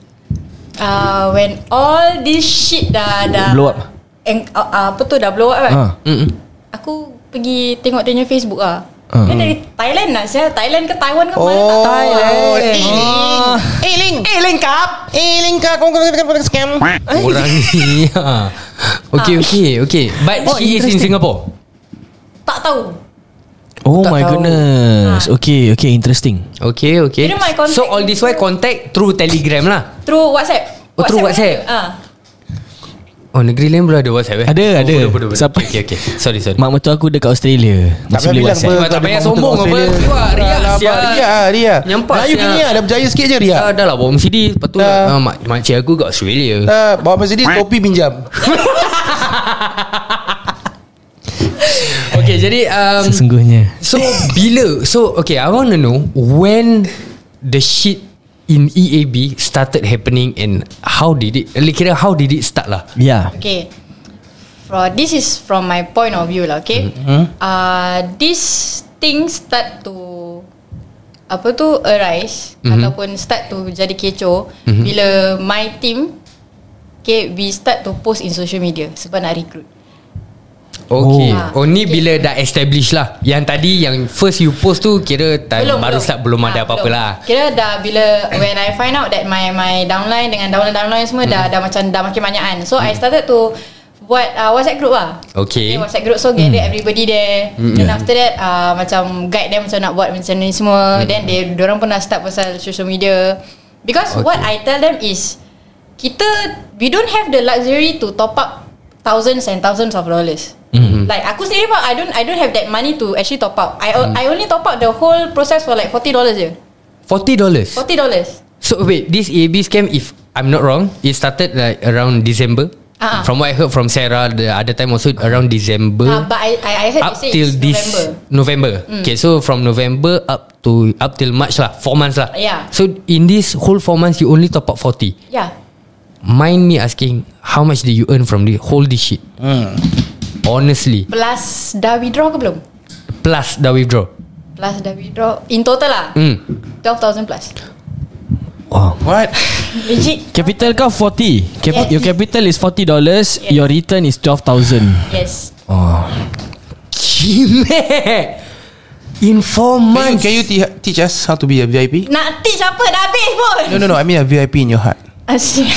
[SPEAKER 7] uh, When all this shit dah, dah
[SPEAKER 3] Blow up.
[SPEAKER 7] and, uh, uh, Apa tu dah blow up kan
[SPEAKER 3] Ah.
[SPEAKER 2] Mm-mm.
[SPEAKER 7] Aku pergi tengok dia punya Facebook lah
[SPEAKER 3] Ah.
[SPEAKER 7] Dia dari Thailand lah saya Thailand ke Taiwan ke mana tak
[SPEAKER 6] Oh
[SPEAKER 7] tahu lah. eh. Oh.
[SPEAKER 6] Iling Iling Iling kap Iling kap Kau kena kena scam
[SPEAKER 2] Orang ni ya. Okay okay okay But
[SPEAKER 7] Oh,
[SPEAKER 2] she is in Singapore
[SPEAKER 7] Tak tahu
[SPEAKER 3] Oh
[SPEAKER 2] Tak
[SPEAKER 3] my
[SPEAKER 2] tahu.
[SPEAKER 3] goodness Okay okay interesting
[SPEAKER 2] Okay okay
[SPEAKER 7] Kira my contact
[SPEAKER 2] So all this why
[SPEAKER 7] info-
[SPEAKER 2] contact through telegram lah
[SPEAKER 7] Through WhatsApp
[SPEAKER 2] Oh, through WhatsApp?
[SPEAKER 7] Ah.
[SPEAKER 2] Oh negeri lain belum ada whatsapp eh
[SPEAKER 3] Ada,
[SPEAKER 2] Oh,
[SPEAKER 3] ada.
[SPEAKER 2] bodoh, bodoh, bodoh.
[SPEAKER 3] Siapa-
[SPEAKER 2] Okay okay Sorry sorry
[SPEAKER 3] Mak mertua aku dekat Australia
[SPEAKER 6] Tak
[SPEAKER 3] Masih
[SPEAKER 6] payah
[SPEAKER 3] boleh
[SPEAKER 6] bilang
[SPEAKER 3] WhatsApp
[SPEAKER 2] ber- Tak payah sombong apa. Keluar, Ria,
[SPEAKER 6] Ria
[SPEAKER 2] sial.
[SPEAKER 6] Ria Ria
[SPEAKER 2] Nyampak,
[SPEAKER 6] Melayu
[SPEAKER 2] sial.
[SPEAKER 6] gini lah Dah berjaya sikit je Ria
[SPEAKER 2] Ah, dah lah bawa CD Lepas tu
[SPEAKER 6] Dah.
[SPEAKER 2] ah, mak, Makcik aku kat Australia
[SPEAKER 6] Ah, Bawa Mercedes Topi pinjam
[SPEAKER 2] Okay jadi um,
[SPEAKER 3] Sesungguhnya
[SPEAKER 2] So bila So okay I want to know When The shit In EAB Started happening And how did it like, Kira how did it start lah
[SPEAKER 3] Ya
[SPEAKER 7] Ah, Okay. For this is from my point of view lah, okay?
[SPEAKER 2] Mm-hmm.
[SPEAKER 7] Uh, this thing start to apa tu
[SPEAKER 2] Mm-hmm.
[SPEAKER 7] arise ataupun start to jadi kecoh bila my team sikit We start to post in social media Sebab nak recruit
[SPEAKER 2] Okay
[SPEAKER 7] Oh.
[SPEAKER 2] Oh, ni bila dah establish lah Yang tadi Yang first you post tu Kira time
[SPEAKER 7] belum,
[SPEAKER 2] Eh, baru start Belum ada
[SPEAKER 7] Ah,
[SPEAKER 2] apa-apa
[SPEAKER 7] belum.
[SPEAKER 2] lah
[SPEAKER 7] Kira dah bila When I find out that My my downline Dengan downline-downline semua Dah
[SPEAKER 2] Mm-hmm.
[SPEAKER 7] dah macam Dah makin banyakan So I started to Buat uh, WhatsApp group lah
[SPEAKER 2] Okay. Hmm.
[SPEAKER 7] WhatsApp group So gather everybody there Then after that uh, Macam guide them Macam nak buat macam ni
[SPEAKER 2] Hmm.
[SPEAKER 7] semua Then they Diorang pun dah start Pasal social media Because
[SPEAKER 2] Okay.
[SPEAKER 7] what I tell them is Kita We don't have the luxury To top up Thousands and thousands of dollars
[SPEAKER 2] Hmm. Mm-hmm.
[SPEAKER 7] Like aku sendiri pun I don't I don't have that money to actually top up. I
[SPEAKER 2] Hmm.
[SPEAKER 7] I only top up the whole process for like 40 dollars je.
[SPEAKER 2] $40
[SPEAKER 7] 40 dollars.
[SPEAKER 2] So wait This EAB scam If I'm not wrong It started like Around December
[SPEAKER 7] Ah.
[SPEAKER 2] From what I heard from Sarah The other time also Around December
[SPEAKER 7] Uh, but I I, I heard
[SPEAKER 2] Hmm. Up
[SPEAKER 7] they say
[SPEAKER 2] till
[SPEAKER 7] it's
[SPEAKER 2] this
[SPEAKER 7] November.
[SPEAKER 2] November
[SPEAKER 7] Hmm.
[SPEAKER 2] Okay so from November Up to Up till March lah 4 months lah
[SPEAKER 7] Yeah.
[SPEAKER 2] So in this whole 4 months You only top up 40
[SPEAKER 7] Yeah.
[SPEAKER 2] Mind me asking How much do you earn From the whole this shit Honestly
[SPEAKER 7] Plus dah withdraw ke belum?
[SPEAKER 2] Plus dah withdraw
[SPEAKER 7] Plus dah withdraw in total lah.
[SPEAKER 2] Hmm.
[SPEAKER 7] 12,000 plus.
[SPEAKER 6] What?
[SPEAKER 7] Legit.
[SPEAKER 3] Capital kau 40 Cap-
[SPEAKER 7] Yes.
[SPEAKER 3] Your capital is $40 Your return is 12,000
[SPEAKER 7] Yes.
[SPEAKER 2] Cime In 4
[SPEAKER 6] Can you,
[SPEAKER 2] months
[SPEAKER 6] can you te- teach us how to be a VIP?
[SPEAKER 7] Nak teach apa dah habis pun.
[SPEAKER 6] No, no, no. I mean a VIP in your heart.
[SPEAKER 7] Asyik.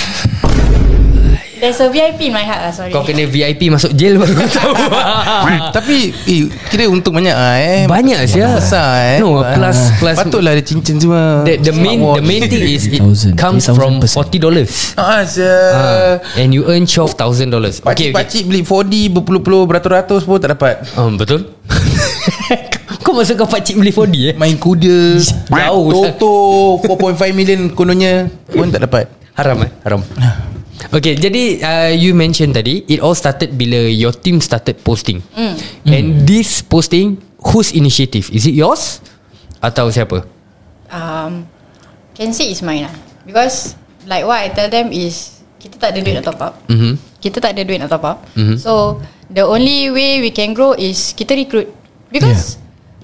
[SPEAKER 7] There's a VIP in my heart lah sorry.
[SPEAKER 2] Kau kena VIP masuk jail baru kau tahu
[SPEAKER 6] Tapi eh, Kira untung banyak lah eh
[SPEAKER 2] Banyak sia
[SPEAKER 6] Besar eh
[SPEAKER 2] No
[SPEAKER 6] Ah.
[SPEAKER 2] plus plus
[SPEAKER 6] Patutlah ada cincin semua
[SPEAKER 2] the, the main the main thing is it
[SPEAKER 3] 3,000,
[SPEAKER 2] comes from
[SPEAKER 3] 3,000%.
[SPEAKER 2] forty dollars
[SPEAKER 6] Ah, sia
[SPEAKER 7] Uh.
[SPEAKER 2] and you earn twelve thousand dollars. Okay, okay.
[SPEAKER 6] Pakcik-pakcik beli 4D Berpuluh-puluh Beratus-ratus pun tak dapat
[SPEAKER 2] Um, betul. kau masuk kau pakcik beli 4D eh?
[SPEAKER 6] Main kuda
[SPEAKER 2] Jauh.
[SPEAKER 6] Toto 4.5 million kononnya Pun tak dapat Ah.
[SPEAKER 2] Haram eh? Haram. Okay, jadi uh, you mentioned tadi it all started bila your team started posting.
[SPEAKER 7] Hmm.
[SPEAKER 2] Mm. And this posting whose initiative? Is it yours atau siapa?
[SPEAKER 7] um, can say is mine lah. Because like what I tell them is kita tak ada duit nak top up.
[SPEAKER 2] Mhm.
[SPEAKER 7] Kita tak ada duit nak top up. So the only way we can grow is kita recruit. Because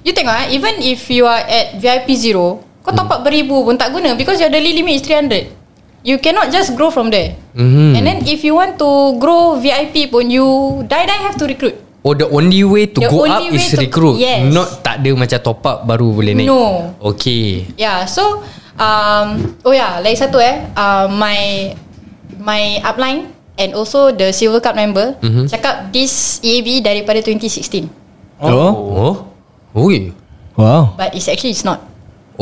[SPEAKER 7] you tengok ah, even if you are at VIP zero, kau top up beribu pun tak guna because your daily limit is 300. You cannot just grow from there.
[SPEAKER 2] Mhm.
[SPEAKER 7] And then if you want to grow VIP pun you die die have to recruit.
[SPEAKER 2] Oh the only way to the
[SPEAKER 7] The
[SPEAKER 2] go
[SPEAKER 7] only
[SPEAKER 2] up
[SPEAKER 7] way
[SPEAKER 2] is
[SPEAKER 7] to-
[SPEAKER 2] recruit.
[SPEAKER 7] Yes.
[SPEAKER 2] Not tak ada macam top up baru boleh naik.
[SPEAKER 7] No.
[SPEAKER 2] Okay.
[SPEAKER 7] Yeah, so um, oh yeah, lagi satu eh, uh, my my upline and also the Silver Cup member mm-hmm.
[SPEAKER 2] Mhm.
[SPEAKER 7] cakap this EAB daripada 2016,
[SPEAKER 3] Oh
[SPEAKER 2] Oh. Ui.
[SPEAKER 3] Wow
[SPEAKER 7] but it's actually it's not.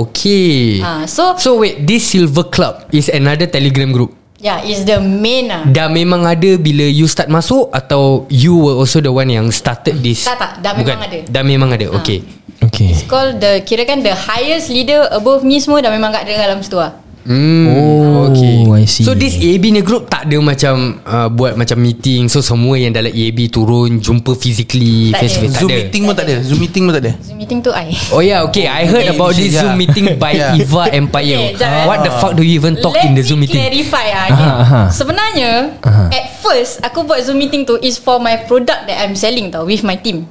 [SPEAKER 2] Okay.
[SPEAKER 7] Ah, uh, so
[SPEAKER 2] So wait, this Silver Club is another Telegram group.
[SPEAKER 7] yeah, it's the main ah.
[SPEAKER 2] Dah memang ada bila you start masuk atau you were also the one yang started this?
[SPEAKER 7] Tak, tak. Dah memang ada. Ha.
[SPEAKER 2] Dah memang ada. Okay.
[SPEAKER 3] Okay
[SPEAKER 7] Call the kira kan the highest leader above me semua dah memang kat dalam situ ah.
[SPEAKER 2] Hmm.
[SPEAKER 3] Oh, I see.
[SPEAKER 2] So this EAB ni group tak ada macam uh, buat macam meeting. So semua yang dalam EAB turun jumpa physically
[SPEAKER 7] Tak
[SPEAKER 2] face to
[SPEAKER 7] ada.
[SPEAKER 2] face tak
[SPEAKER 6] Zoom
[SPEAKER 2] ada.
[SPEAKER 6] meeting pun tak ada Zoom meeting pun tak ada
[SPEAKER 7] Zoom meeting tu I.
[SPEAKER 2] Oh yeah, okay. I heard about this
[SPEAKER 6] Yeah.
[SPEAKER 2] Zoom meeting by
[SPEAKER 6] Yeah.
[SPEAKER 2] Eva Empire.
[SPEAKER 7] Okay, jap, eh.
[SPEAKER 2] What the fuck do you even talk
[SPEAKER 7] Let
[SPEAKER 2] in the
[SPEAKER 7] me
[SPEAKER 2] Zoom meeting?
[SPEAKER 7] clarify ah. Okay.
[SPEAKER 3] Aha, aha.
[SPEAKER 7] Sebenarnya at first aku buat Zoom meeting tu is for my product that I'm selling tau with my team.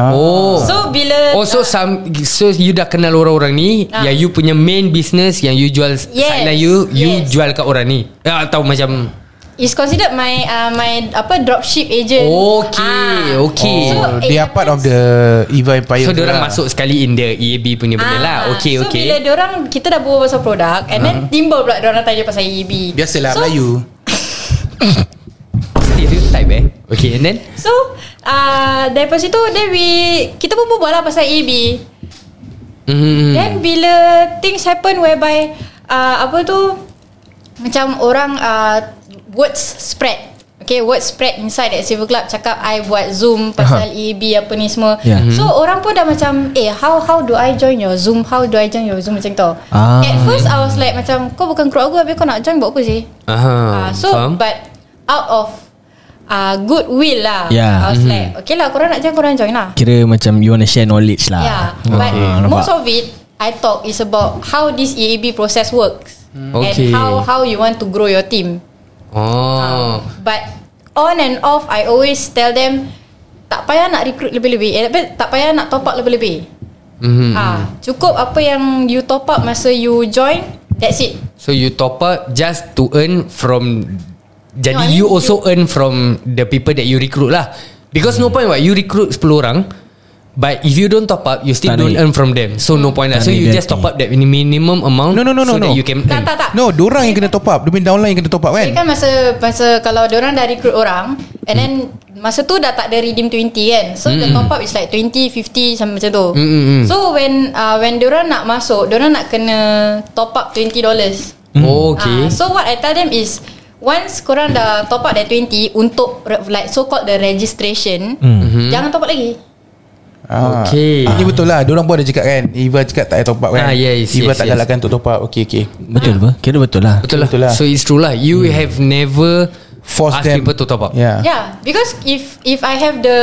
[SPEAKER 2] Oh.
[SPEAKER 7] So bila
[SPEAKER 2] Oh so some So you dah kenal orang-orang ni
[SPEAKER 7] Ah.
[SPEAKER 2] Yang you punya main business Yang you jual yes.
[SPEAKER 7] Yes,
[SPEAKER 2] Sideline you You
[SPEAKER 7] yes.
[SPEAKER 2] jual kat orang ni Eh, Atau macam
[SPEAKER 7] It's considered my uh, my apa dropship agent. Ah.
[SPEAKER 2] Okay, okay.
[SPEAKER 7] So,
[SPEAKER 6] Oh,
[SPEAKER 7] it
[SPEAKER 6] They are part of
[SPEAKER 7] happens-
[SPEAKER 6] the Eva Empire
[SPEAKER 2] eh, So
[SPEAKER 6] tu
[SPEAKER 2] orang
[SPEAKER 6] lah.
[SPEAKER 2] masuk sekali In the EAB punya benda
[SPEAKER 7] Ah,
[SPEAKER 2] lah Okay
[SPEAKER 7] so
[SPEAKER 2] okay
[SPEAKER 7] So bila diorang kita dah berbual pasal produk and then timbul pula diorang tanya pasal EB.
[SPEAKER 6] Uh-huh. Biasalah
[SPEAKER 7] so,
[SPEAKER 6] Melayu
[SPEAKER 2] Stereotype eh Okay and then
[SPEAKER 7] So uh, daripada situ then we kita pun berbual lah pasal EB.
[SPEAKER 2] mm,
[SPEAKER 7] Then bila things happen whereby uh, apa tu macam orang uh, words spread. Okay, word spread inside that Silver Club cakap I buat Zoom pasal EB apa ni semua.
[SPEAKER 3] Yeah.
[SPEAKER 7] So orang pun dah macam eh how how do I join your Zoom? How do I join your Zoom macam tu.
[SPEAKER 3] Ah.
[SPEAKER 7] At first I was like macam kau bukan crew aku habis kau nak join buat apa sih?
[SPEAKER 2] Aha,
[SPEAKER 7] Ah, so
[SPEAKER 2] faham?
[SPEAKER 7] but out of uh, goodwill lah.
[SPEAKER 3] Yeah.
[SPEAKER 7] I was like okay lah korang nak join korang join lah.
[SPEAKER 3] Kira macam you want to share knowledge lah
[SPEAKER 7] Yeah, but most of it I talk is about how this EAB process works
[SPEAKER 2] Okay.
[SPEAKER 7] and how how you want to grow your team.
[SPEAKER 2] Oh
[SPEAKER 7] But on and off, I always tell them tak payah nak recruit lebih-lebih, eh, apa, tak payah nak top up lebih-lebih.
[SPEAKER 2] mm.
[SPEAKER 7] Ah, cukup apa yang you top up masa you join. That's it.
[SPEAKER 2] So you top up Just to earn from Jadi no,
[SPEAKER 7] No, I mean
[SPEAKER 2] you
[SPEAKER 7] you-
[SPEAKER 2] also earn from the people that you recruit lah. Because no point what you recruit 10 orang but if you don't top up you still
[SPEAKER 3] Tak
[SPEAKER 2] don't
[SPEAKER 3] naik.
[SPEAKER 2] earn from them. So no point lah.
[SPEAKER 3] Tak
[SPEAKER 2] So
[SPEAKER 3] naik
[SPEAKER 2] you
[SPEAKER 3] gaji.
[SPEAKER 2] just top up that minimum amount
[SPEAKER 6] No, no, no,
[SPEAKER 2] so
[SPEAKER 6] no,
[SPEAKER 2] that
[SPEAKER 6] no.
[SPEAKER 2] you can
[SPEAKER 7] Tak
[SPEAKER 2] earn.
[SPEAKER 7] tak tak
[SPEAKER 6] No, dorang yang kena top up. Dia punya downline yang kena top up
[SPEAKER 7] Dia kan
[SPEAKER 6] kan?
[SPEAKER 7] masa Masa kalau orang dah recruit orang And then Masa tu dah tak ada redeem 20 kan So the top up is like 20, 50 Sampai macam tu
[SPEAKER 2] Mm, mm, mm.
[SPEAKER 7] So when uh, When orang nak masuk orang nak kena Top up 20 dollars
[SPEAKER 2] Oh, okay.
[SPEAKER 7] Ah, so what I tell them is Once korang dah top up that 20 Untuk re- like so called the registration mm-hmm. Jangan top up lagi
[SPEAKER 6] Ah.
[SPEAKER 2] Okay.
[SPEAKER 6] Ini betul lah. Dorang pun ada cakap kan. Iva cakap tak payah top up kan?
[SPEAKER 2] Ah, yes,
[SPEAKER 6] Iva
[SPEAKER 2] yes,
[SPEAKER 6] tak
[SPEAKER 2] yes.
[SPEAKER 6] galakkan untuk top up. Okay, okay.
[SPEAKER 3] Betul apa? Kira betul lah
[SPEAKER 2] Betul lah.
[SPEAKER 6] Betul lah.
[SPEAKER 2] So it's true lah. You have never
[SPEAKER 6] Force
[SPEAKER 2] ask
[SPEAKER 6] them. Ya.
[SPEAKER 2] people to Ah, top up.
[SPEAKER 6] Yeah.
[SPEAKER 7] Yeah, because if if I have the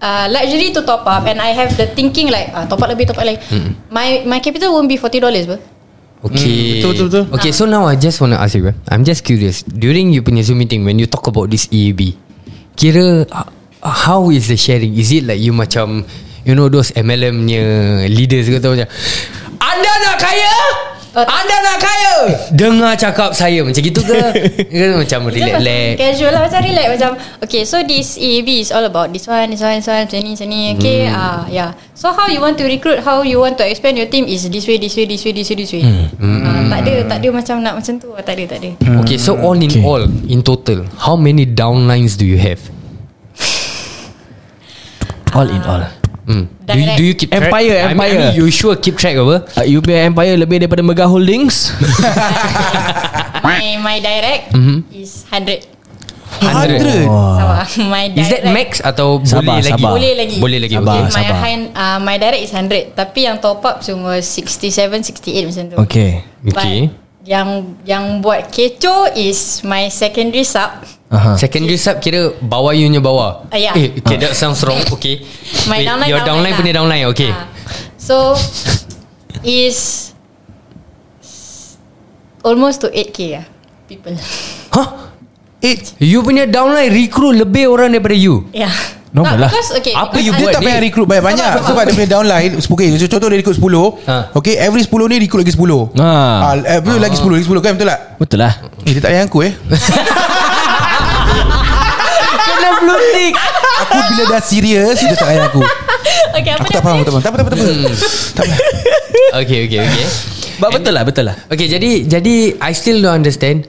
[SPEAKER 7] uh, luxury to top up and I have the thinking like ah, top up lebih top up lagi, my my capital won't be forty dollars, bro.
[SPEAKER 2] Okay.
[SPEAKER 6] Hmm, betul, betul, betul.
[SPEAKER 2] Okay, so now I just want to ask you. eh. I'm just curious. During you punya Zoom meeting when you talk about this EAB, kira uh, how is the sharing? Is it like you macam you know those MLM nya leaders ke tu macam anda nak kaya?
[SPEAKER 7] Oh, tak.
[SPEAKER 2] Anda nak kaya? Dengar cakap saya macam gitu ke? Kan macam relax-relax.
[SPEAKER 7] Casual lah Macam relax Macam Okay so this EAB is all about This one This one This one Macam ni Macam ni Okay
[SPEAKER 2] Hmm.
[SPEAKER 7] ah yeah. So how you want to recruit How you want to expand your team Is this way This way This way This way This way
[SPEAKER 2] Hmm.
[SPEAKER 7] Ah, Tak ada Tak ada macam nak macam tu Tak ada tak ada
[SPEAKER 6] Hmm,
[SPEAKER 2] Okay, so all in
[SPEAKER 3] Okay.
[SPEAKER 2] all, in total, how many downlines do you have?
[SPEAKER 3] All in all
[SPEAKER 2] Hmm. Do, you,
[SPEAKER 7] Direct.
[SPEAKER 2] do you keep track?
[SPEAKER 3] Empire,
[SPEAKER 2] I mean- I mean,
[SPEAKER 3] empire.
[SPEAKER 2] you sure keep track apa?
[SPEAKER 3] uh, You punya empire lebih daripada Mega Holdings
[SPEAKER 7] My my direct
[SPEAKER 2] Hmm.
[SPEAKER 7] Is 100
[SPEAKER 2] 100.
[SPEAKER 3] Oh,
[SPEAKER 7] Sabar My direct
[SPEAKER 2] Ah. Is that max atau
[SPEAKER 3] Sabar,
[SPEAKER 2] boleh lagi?
[SPEAKER 3] sabar.
[SPEAKER 7] Boleh lagi
[SPEAKER 2] Boleh lagi.
[SPEAKER 3] Sabar.
[SPEAKER 2] Okay.
[SPEAKER 7] my, hand, uh, my direct is 100 Tapi yang top up Cuma 67 68 macam tu
[SPEAKER 3] Okay
[SPEAKER 7] But
[SPEAKER 2] Okay.
[SPEAKER 7] yang yang buat kecoh is my secondary sub.
[SPEAKER 3] Aha.
[SPEAKER 2] Secondary sub kira bawah you punya bawah.
[SPEAKER 7] Ah, ya.
[SPEAKER 2] Eh, okay, that sounds wrong. Okay.
[SPEAKER 7] My
[SPEAKER 2] Wait,
[SPEAKER 7] downline
[SPEAKER 2] Your downline punya downline.
[SPEAKER 7] lah.
[SPEAKER 2] Okay.
[SPEAKER 7] Ah. So is almost to 8k lah people.
[SPEAKER 2] Huh? It you punya downline recruit lebih orang daripada you.
[SPEAKER 7] Yeah.
[SPEAKER 3] Normal lah.
[SPEAKER 7] Because, okay,
[SPEAKER 2] Apa
[SPEAKER 7] because
[SPEAKER 2] you
[SPEAKER 6] Dia
[SPEAKER 7] I-
[SPEAKER 2] buat
[SPEAKER 6] tak
[SPEAKER 2] ni?
[SPEAKER 6] payah recruit banyak-banyak
[SPEAKER 7] Sabar, sabar.
[SPEAKER 6] Sebab dia punya downline okay, so Contoh dia recruit 10
[SPEAKER 2] Ha.
[SPEAKER 6] Okay every 10 ni recruit lagi 10
[SPEAKER 3] Ha.
[SPEAKER 6] ah, eh, betul, Lagi 10 Lagi 10 kan betul tak
[SPEAKER 3] Betul lah
[SPEAKER 6] Eh dia tak payah aku eh
[SPEAKER 2] Kena blue tick.
[SPEAKER 6] Aku bila dah serius Dia tak payah aku
[SPEAKER 7] Okay, apa
[SPEAKER 6] Aku
[SPEAKER 7] dia?
[SPEAKER 6] tak faham Aku tak faham Tak apa tak apa tak apa.
[SPEAKER 2] Hmm.
[SPEAKER 6] Tak apa
[SPEAKER 2] Okay, okay, okay.
[SPEAKER 3] But betul lah Betul lah
[SPEAKER 2] Okay, jadi jadi I still don't understand.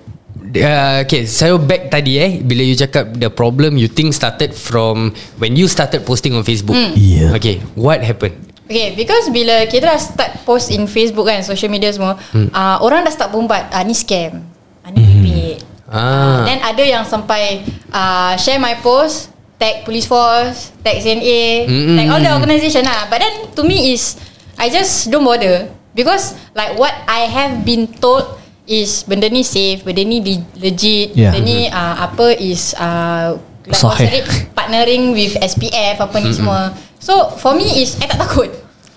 [SPEAKER 2] Uh, okay, saya back tadi eh bila you cakap the problem you think started from when you started posting on Facebook.
[SPEAKER 7] Hmm.
[SPEAKER 3] Yeah.
[SPEAKER 2] Okay, what happened?
[SPEAKER 7] Okay, because bila kita dah start post in Facebook kan, social media semua,
[SPEAKER 2] Hmm.
[SPEAKER 7] ah, orang dah start bombat, ah, ni scam, ah, ni pipit.
[SPEAKER 3] Ha.
[SPEAKER 2] Ah.
[SPEAKER 7] Then ada yang sampai ah, share my post, tag police force, tag CNA,
[SPEAKER 2] Mm-mm.
[SPEAKER 7] tag all the organisation lah. But then to me is, I just don't bother. Because like what I have been told is benda ni safe, benda ni di- legit,
[SPEAKER 3] Yeah. Mm-hmm.
[SPEAKER 7] benda ni ah, apa is ah, like
[SPEAKER 3] Sahih.
[SPEAKER 7] what's it, partnering with SPF apa ni semua. So for me is I tak takut.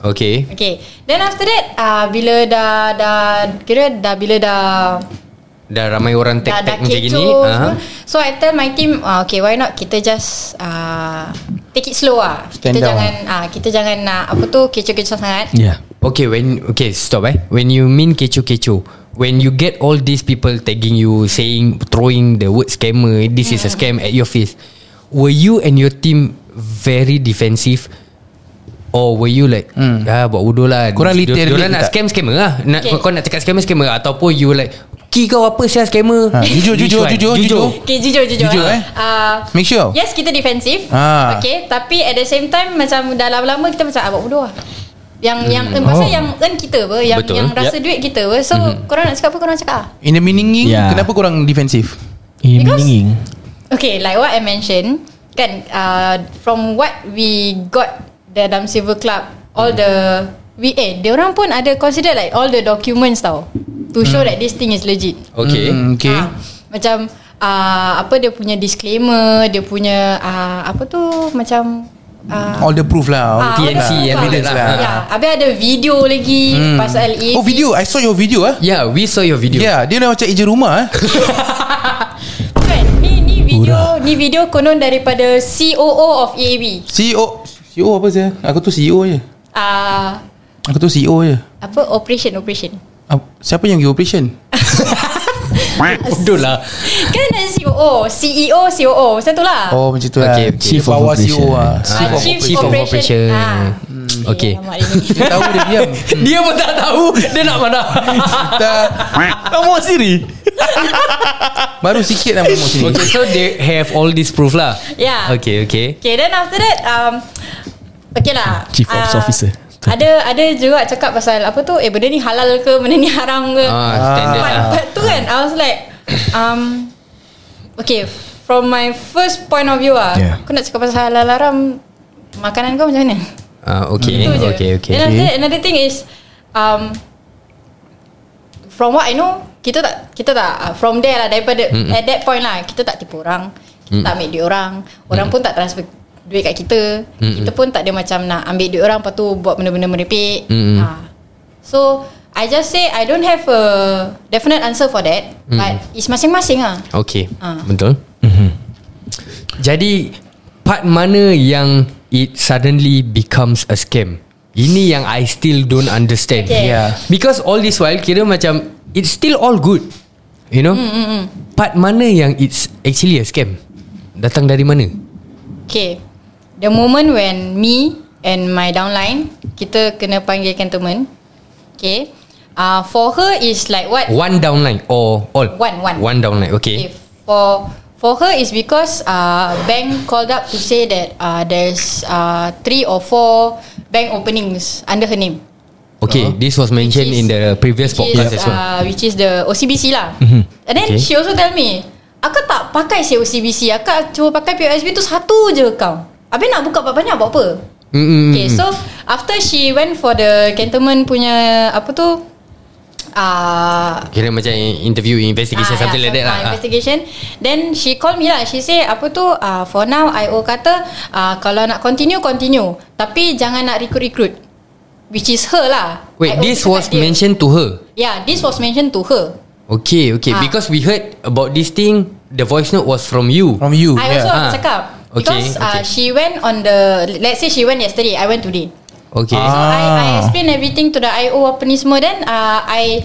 [SPEAKER 2] Okay.
[SPEAKER 7] Okay Then after that uh, Bila dah, dah Kira dah bila dah
[SPEAKER 2] Dah ramai orang
[SPEAKER 7] Dah, dah
[SPEAKER 2] tag-tag macam gini.
[SPEAKER 7] kecoh
[SPEAKER 2] Ah.
[SPEAKER 7] semua. So I tell my team uh, Okay why not Kita just uh, Take it slow lah
[SPEAKER 6] Stand
[SPEAKER 7] Kita
[SPEAKER 6] down.
[SPEAKER 7] jangan uh, Kita jangan nak Apa tu Kecoh-kecoh sangat
[SPEAKER 3] Yeah
[SPEAKER 2] Okay when Okay stop eh When you mean kecoh-kecoh When you get all these people tagging you Saying Throwing the word scammer This is a
[SPEAKER 6] Mm.
[SPEAKER 2] scam at your face Were you and your team Very defensive Or were you like hmm. Ah buat bodoh lah
[SPEAKER 6] Mm. Korang
[SPEAKER 2] Dia-
[SPEAKER 6] literally
[SPEAKER 2] diorang nak
[SPEAKER 6] tak?
[SPEAKER 2] scam scammer lah nak,
[SPEAKER 7] Okay.
[SPEAKER 2] okay. Kau nak cakap scammer scammer Ataupun you were like Ki kau apa sial scammer
[SPEAKER 6] Ha, jujur,
[SPEAKER 2] Which
[SPEAKER 6] jujur,
[SPEAKER 2] one?
[SPEAKER 6] jujur, jujur.
[SPEAKER 7] Okay jujur Jujur,
[SPEAKER 6] Jujur, eh.
[SPEAKER 7] uh,
[SPEAKER 6] Make sure.
[SPEAKER 7] Yes kita defensif
[SPEAKER 6] Ah.
[SPEAKER 7] Okay Tapi at the same time Macam dah lama-lama Kita macam Abang bodoh lah yang hmm. yang oh. pasal yang earn kita apa yang
[SPEAKER 2] Betul.
[SPEAKER 7] yang rasa duit kita apa so mm-hmm. korang nak cakap apa korang cakap ah
[SPEAKER 6] In the meaning
[SPEAKER 2] Ya.
[SPEAKER 3] Yeah.
[SPEAKER 6] Kenapa korang defensif
[SPEAKER 3] Ini
[SPEAKER 7] Because-
[SPEAKER 3] meaning
[SPEAKER 7] Okay, like what I mentioned, kan uh, from what we got the dalam Silver Club, all the we eh, dia orang pun ada consider like all the documents tau to show that this thing is legit.
[SPEAKER 2] Okay
[SPEAKER 6] Hmm, Okay
[SPEAKER 7] Ah, macam uh, apa dia punya disclaimer, dia punya uh, apa tu macam uh,
[SPEAKER 6] All the proof lah
[SPEAKER 2] TNC, evidence
[SPEAKER 7] lah.
[SPEAKER 2] lah.
[SPEAKER 7] Yeah, habis ada video lagi pasal LA.
[SPEAKER 6] Oh video I saw your video ah.
[SPEAKER 2] Yeah we saw your video
[SPEAKER 6] Yeah Dia dah macam ejen rumah eh.
[SPEAKER 7] Kan, ni ni video, ni video konon daripada COO of EAB.
[SPEAKER 6] CEO CEO E apa saya Aku tu CEO je
[SPEAKER 7] Ah uh,
[SPEAKER 6] Aku tu CEO je
[SPEAKER 7] apa operation operation
[SPEAKER 6] Ah, Siapa yang pergi operation
[SPEAKER 2] Bodoh lah
[SPEAKER 7] kan COO CEO COO Macam tu lah
[SPEAKER 6] Oh macam tu lah
[SPEAKER 2] Okay, okay.
[SPEAKER 6] Chief of Operation ah.
[SPEAKER 7] Ah, Chief,
[SPEAKER 2] Chief of Operation.
[SPEAKER 7] Ah.
[SPEAKER 2] Okay.
[SPEAKER 7] Eh,
[SPEAKER 6] Mm. Dia tahu
[SPEAKER 7] alamak dia ni.
[SPEAKER 6] dia diam
[SPEAKER 2] Hmm. Dia pun tak tahu Dia nak mana
[SPEAKER 6] Tak
[SPEAKER 3] Kamu sendiri
[SPEAKER 6] Baru sikit nak promote sini
[SPEAKER 2] Okay so they have all this proof lah
[SPEAKER 7] Yeah.
[SPEAKER 2] Okay okay
[SPEAKER 7] Okay then after that um, Okay lah
[SPEAKER 3] Chief Ops
[SPEAKER 7] Ah,
[SPEAKER 3] Officer.
[SPEAKER 7] Ada ada juga cakap pasal Apa tu Eh benda ni halal ke Benda ni haram ke
[SPEAKER 2] Ah,
[SPEAKER 3] ya.
[SPEAKER 2] standard
[SPEAKER 7] But,
[SPEAKER 2] lah
[SPEAKER 7] but tu kan I was like um, Okay From my first point of view ah,
[SPEAKER 3] Yeah.
[SPEAKER 7] Aku nak cakap pasal halal haram Makanan kau macam mana
[SPEAKER 2] Ah, Okay
[SPEAKER 7] Itu je
[SPEAKER 2] Okay okay
[SPEAKER 7] Then after that, another thing is um, From what I know Kita tak Kita tak uh, From there lah Daripada mm At that point lah Kita tak tipu orang Kita tak ambil duit orang Orang pun tak transfer Duit kat kita Kita pun tak ada macam Nak ambil duit orang Lepas tu buat benda-benda merepek
[SPEAKER 2] Mm-mm.
[SPEAKER 7] ha. So I just say I don't have a Definite answer for that But It's masing-masing lah
[SPEAKER 2] Okay
[SPEAKER 7] Ah.
[SPEAKER 2] Betul mm-hmm. Jadi Part mana yang It suddenly becomes a scam Ini yang I still don't understand
[SPEAKER 7] Okay.
[SPEAKER 6] Yeah.
[SPEAKER 2] Because all this while Kira macam It's still all good You know
[SPEAKER 7] Mm,
[SPEAKER 2] Part mana yang It's actually a scam Datang dari mana
[SPEAKER 7] Okay The moment when me and my downline Kita kena panggil cantonment Okay uh, For her is like what
[SPEAKER 2] One downline Or all
[SPEAKER 7] One, one.
[SPEAKER 2] One downline
[SPEAKER 7] Okay,
[SPEAKER 2] Okay,
[SPEAKER 7] for for her is because uh, bank called up to say that uh, there's uh, three or four bank openings under her name.
[SPEAKER 2] okay. This was mentioned
[SPEAKER 7] Which
[SPEAKER 2] In
[SPEAKER 7] is-
[SPEAKER 2] the previous
[SPEAKER 7] which
[SPEAKER 2] podcast as
[SPEAKER 7] is,
[SPEAKER 2] well Mm-hmm.
[SPEAKER 7] uh, Which is the OCBC lah And then
[SPEAKER 2] Okay.
[SPEAKER 7] she also tell me Aku tak pakai si OCBC Aku cuma pakai POSB tu satu je account Habis nak buka banyak-banyak buat apa
[SPEAKER 2] Mm-mm.
[SPEAKER 7] Okay so After she went for the Cantonment punya Apa tu Ah,
[SPEAKER 2] Kira macam interview investigation
[SPEAKER 7] Ah,
[SPEAKER 2] something
[SPEAKER 7] yeah,
[SPEAKER 2] like that
[SPEAKER 7] some-
[SPEAKER 2] lah.
[SPEAKER 7] ah, Investigation Then she call me lah She say apa tu uh, For now IO kata uh, Kalau nak continue Continue Tapi jangan nak recruit-recruit Which is her lah
[SPEAKER 2] Ah. Wait,
[SPEAKER 7] IO
[SPEAKER 2] this
[SPEAKER 7] cakap
[SPEAKER 2] was
[SPEAKER 7] dia.
[SPEAKER 2] mentioned to her.
[SPEAKER 7] Yeah this was mentioned to her
[SPEAKER 2] Okay, okay.
[SPEAKER 7] Ah.
[SPEAKER 2] Because we heard about this thing, the voice note was from you.
[SPEAKER 6] From you
[SPEAKER 7] I
[SPEAKER 2] yeah.
[SPEAKER 7] also yeah.
[SPEAKER 2] Ah.
[SPEAKER 7] cakap
[SPEAKER 2] Okay,
[SPEAKER 7] Because
[SPEAKER 2] okay.
[SPEAKER 7] Uh, she went on the Let's say she went yesterday I went today
[SPEAKER 2] Okay.
[SPEAKER 7] So I, I explain everything to the IO apa ni semua Then uh, I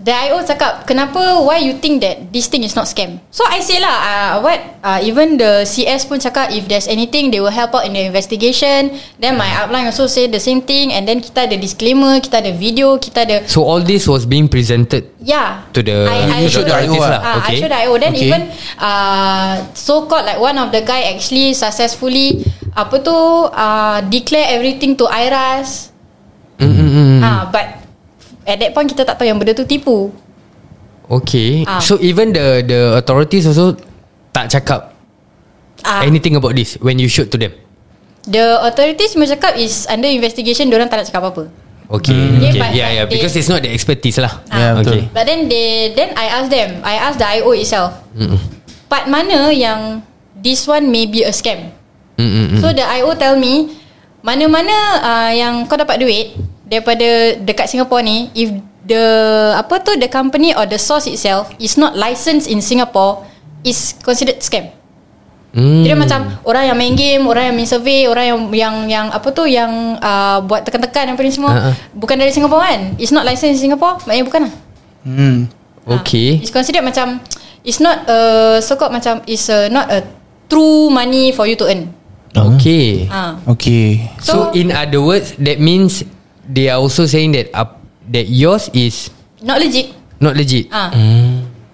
[SPEAKER 7] The IO cakap Kenapa Why you think that This thing is not scam So I say lah uh, What uh, Even the CS pun cakap If there's anything They will help out in the investigation Then my outline also say The same thing And then kita ada disclaimer Kita ada video Kita ada
[SPEAKER 2] So all this was being presented.
[SPEAKER 7] Yeah.
[SPEAKER 2] To the-
[SPEAKER 7] I, I
[SPEAKER 2] You
[SPEAKER 6] showed
[SPEAKER 7] showed
[SPEAKER 6] the IO
[SPEAKER 7] the IO
[SPEAKER 6] lah.
[SPEAKER 7] Ah,
[SPEAKER 2] Okay.
[SPEAKER 7] I showed the IO. Then
[SPEAKER 6] Okay.
[SPEAKER 7] even uh, so called like one of the guy actually successfully apa tu uh, declare everything to IRAS.
[SPEAKER 2] Mm,
[SPEAKER 7] Mm-hmm. Ah, but at that point kita tak tahu yang benda tu tipu.
[SPEAKER 2] Okay.
[SPEAKER 7] Ah.
[SPEAKER 2] So even the the authorities also tak cakap
[SPEAKER 7] Ah,
[SPEAKER 2] anything about this when you showed to them.
[SPEAKER 7] the authorities cuma cakap is under investigation. Diorang tak nak cakap apa-apa.
[SPEAKER 2] Okay.
[SPEAKER 7] Mm. Yeah,
[SPEAKER 2] okay. yeah,
[SPEAKER 7] but- but
[SPEAKER 2] yeah.
[SPEAKER 7] they- Ah.
[SPEAKER 2] Because it's not the expertise lah.
[SPEAKER 6] Yeah, betul.
[SPEAKER 2] okay.
[SPEAKER 7] But then they then I ask them, I ask the IO itself.
[SPEAKER 2] Mm,
[SPEAKER 7] Mm-mm. Part mana yang this one may be a scam?
[SPEAKER 2] Mm-mm.
[SPEAKER 7] So the IO tell me mana-mana uh, yang kau dapat duit daripada dekat Singapore ni if the apa tu the company or the source itself is not licensed in Singapore is considered scam.
[SPEAKER 2] Mm.
[SPEAKER 7] Jadi macam orang yang main game, orang yang main survey, orang yang yang yang apa tu yang uh, buat tekan-tekan apa ni semua
[SPEAKER 2] Ha, ha.
[SPEAKER 7] bukan dari Singapore kan? It's not licensed in Singapore, maknanya bukan lah.
[SPEAKER 6] Hmm
[SPEAKER 2] Okay.
[SPEAKER 7] It's considered macam it's not a so called macam it's a, not a true money for you to earn.
[SPEAKER 2] Okay.
[SPEAKER 7] Ah.
[SPEAKER 6] Okay
[SPEAKER 2] So,
[SPEAKER 7] So-
[SPEAKER 2] in other words, that means they are also saying that up, that yours is
[SPEAKER 7] Not legit.
[SPEAKER 2] not legit.
[SPEAKER 7] Ah.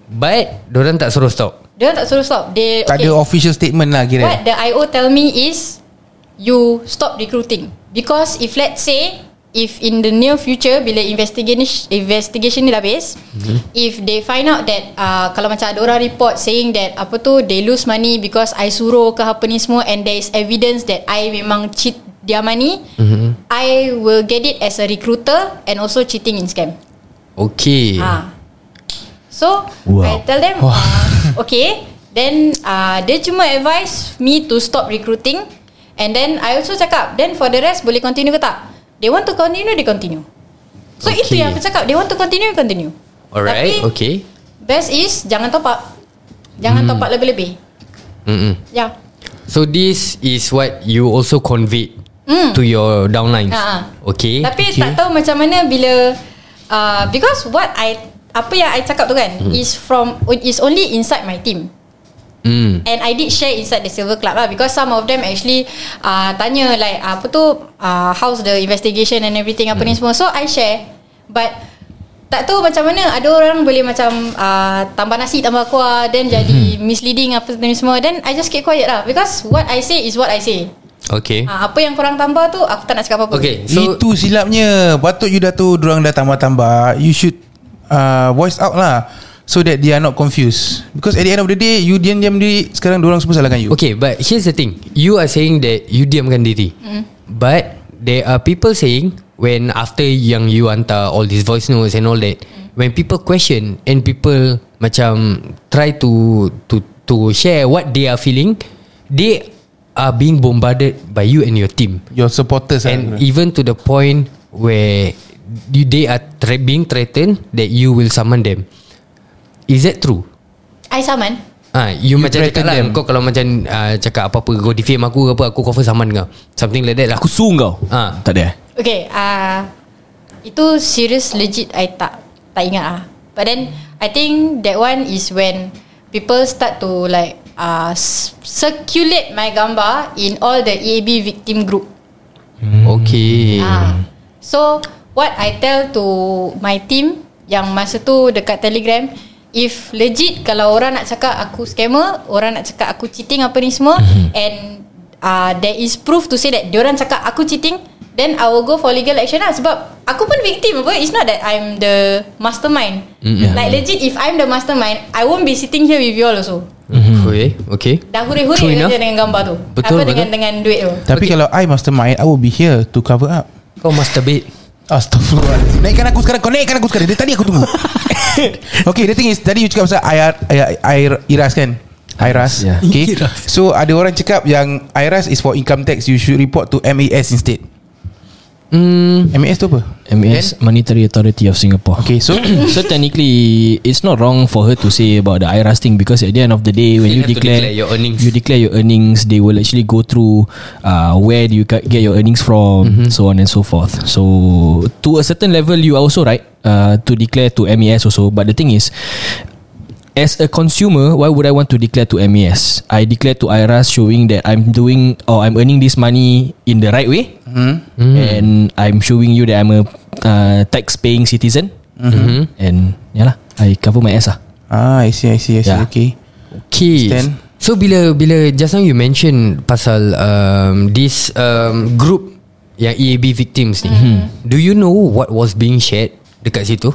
[SPEAKER 2] But Diorang tak suruh stop
[SPEAKER 7] Dia tak suruh stop. They
[SPEAKER 6] Tak ada official statement lah kira
[SPEAKER 7] What the IO tell me is you stop recruiting because if let's say if in the near future bila investigation investigation ni dah habis
[SPEAKER 6] Mhm.
[SPEAKER 7] mm-hmm. if they find out that uh, kalau macam ada orang report saying that apa tu they lose money because I suruh ke apa ni semua and there is evidence that I memang cheat their money mm-hmm.
[SPEAKER 6] Mhm.
[SPEAKER 7] I will get it as a recruiter and also cheating in scam
[SPEAKER 2] Okay
[SPEAKER 7] Ah. So I tell them uh, okay then uh, dia cuma advise me to stop recruiting and then I also cakap then for the rest boleh continue ke tak? They want to continue they continue. So okay. itu
[SPEAKER 2] Okay.
[SPEAKER 7] yang aku cakap they want to continue continue.
[SPEAKER 2] Alright
[SPEAKER 7] Tapi
[SPEAKER 2] Okay
[SPEAKER 7] best is jangan top up. Jangan top up lebih-lebih. Ya.
[SPEAKER 2] Mm-mm.
[SPEAKER 7] Yeah.
[SPEAKER 2] So this is what you also conveyed
[SPEAKER 7] Mm.
[SPEAKER 2] To your downlines
[SPEAKER 7] Ha, ha.
[SPEAKER 2] Okay
[SPEAKER 7] Tapi okay. tak tahu macam mana bila uh, because what I apa yang I cakap tu kan mm. is from is only inside my team.
[SPEAKER 2] Mm.
[SPEAKER 7] And I did share inside the silver club lah because some of them actually uh, tanya like apa tu uh, how's the investigation and everything apa ni
[SPEAKER 2] Hmm.
[SPEAKER 7] semua. So I share but tak tahu macam mana ada orang boleh macam uh, tambah nasi tambah kuah then
[SPEAKER 2] Hmm.
[SPEAKER 7] jadi misleading apa ni semua then I just keep quiet lah because what I say is what I say.
[SPEAKER 2] Okay.
[SPEAKER 7] Uh, apa yang korang tambah tu aku tak nak cakap apa-apa.
[SPEAKER 2] Okay. So
[SPEAKER 6] So, Itu silapnya Patut you dah tu Diorang dah tambah-tambah You should uh, Voice out lah So that they are not confused Because at the end of the day You diam-diam diri Sekarang diorang semua salahkan you
[SPEAKER 2] Okay but here's the thing You are saying that You diamkan diri mm. But There are people saying When after yang you hantar All these voice notes and all that mm. When people question And people Macam Try to To to share What they are feeling They Are being bombarded By you and your team
[SPEAKER 6] Your supporters lah.
[SPEAKER 2] And even to the point Where you, They are tra- being threatened That you will summon them Is that true?
[SPEAKER 7] I saman.
[SPEAKER 2] Ah, you, you macam
[SPEAKER 6] threaten
[SPEAKER 2] cakap lah
[SPEAKER 6] them.
[SPEAKER 2] Kau kalau macam uh, Cakap apa-apa Kau defame aku ke apa Aku cover saman kau Something like that lah
[SPEAKER 3] Aku suruh kau
[SPEAKER 2] Ah.
[SPEAKER 3] Tak ada eh
[SPEAKER 7] Okay uh, Itu serious legit I tak Tak ingat ah. But then I think that one is when People start to like uh, s- Circulate my gambar In all the EAB victim group
[SPEAKER 2] Hmm. Okay
[SPEAKER 7] Ah. So What I tell to My team Yang masa tu Dekat telegram If legit Kalau orang nak cakap Aku scammer Orang nak cakap Aku cheating apa ni semua
[SPEAKER 2] Mhm.
[SPEAKER 7] And uh, There is proof to say that Diorang cakap Aku cheating Then I will go for legal action lah Sebab Aku pun victim apa It's not that I'm the Mastermind Like legit If I'm the mastermind I won't be sitting here with you all also
[SPEAKER 2] Okay Okay
[SPEAKER 7] Dah huri-huri
[SPEAKER 2] True
[SPEAKER 7] je
[SPEAKER 2] enough.
[SPEAKER 7] dengan gambar tu
[SPEAKER 2] Betul,
[SPEAKER 7] Apa dengan,
[SPEAKER 2] betul.
[SPEAKER 7] dengan duit tu
[SPEAKER 6] Tapi okay. kalau I mastermind I will be here To cover up
[SPEAKER 2] Kau masturbate
[SPEAKER 6] Astaghfirullah Naikkan aku sekarang Kau naikkan aku sekarang Dari tadi aku tunggu Okay the thing is Tadi you cakap pasal Air, air, air Iras kan Iras
[SPEAKER 3] Ya.
[SPEAKER 6] Okay So ada orang cakap Yang Iras is for income tax You should report to MAS instead
[SPEAKER 2] Hmm
[SPEAKER 6] MAS tu apa?
[SPEAKER 3] MAS Monetary Authority of Singapore
[SPEAKER 6] Okay so
[SPEAKER 3] So technically It's not wrong for her to say About the IRAS thing Because at the end of the day When
[SPEAKER 2] You
[SPEAKER 3] you,
[SPEAKER 2] have to
[SPEAKER 3] declare,
[SPEAKER 2] declare your earnings.
[SPEAKER 3] You declare your earnings They will actually go through uh, Where do you ca- get your earnings from
[SPEAKER 2] Mm-hmm.
[SPEAKER 3] So on and so forth So To a certain level You are also right uh, To declare to MES also But the thing is As a consumer, why would I want to declare to MES? I declare to IRAS showing that I'm doing or I'm earning this money in the right way,
[SPEAKER 2] Mm-hmm. Mm.
[SPEAKER 3] and I'm showing you that I'm a uh, tax-paying citizen,
[SPEAKER 2] Mm-hmm.
[SPEAKER 3] and yeah lah, I cover my ass lah.
[SPEAKER 6] Ah I see I see I see
[SPEAKER 2] Ya.
[SPEAKER 3] Yeah.
[SPEAKER 6] Okay
[SPEAKER 2] Okay
[SPEAKER 6] Stand.
[SPEAKER 2] So bila bila just now you mention pasal um, this um, group yang EAB victims ni. Do you know what was being shared dekat situ?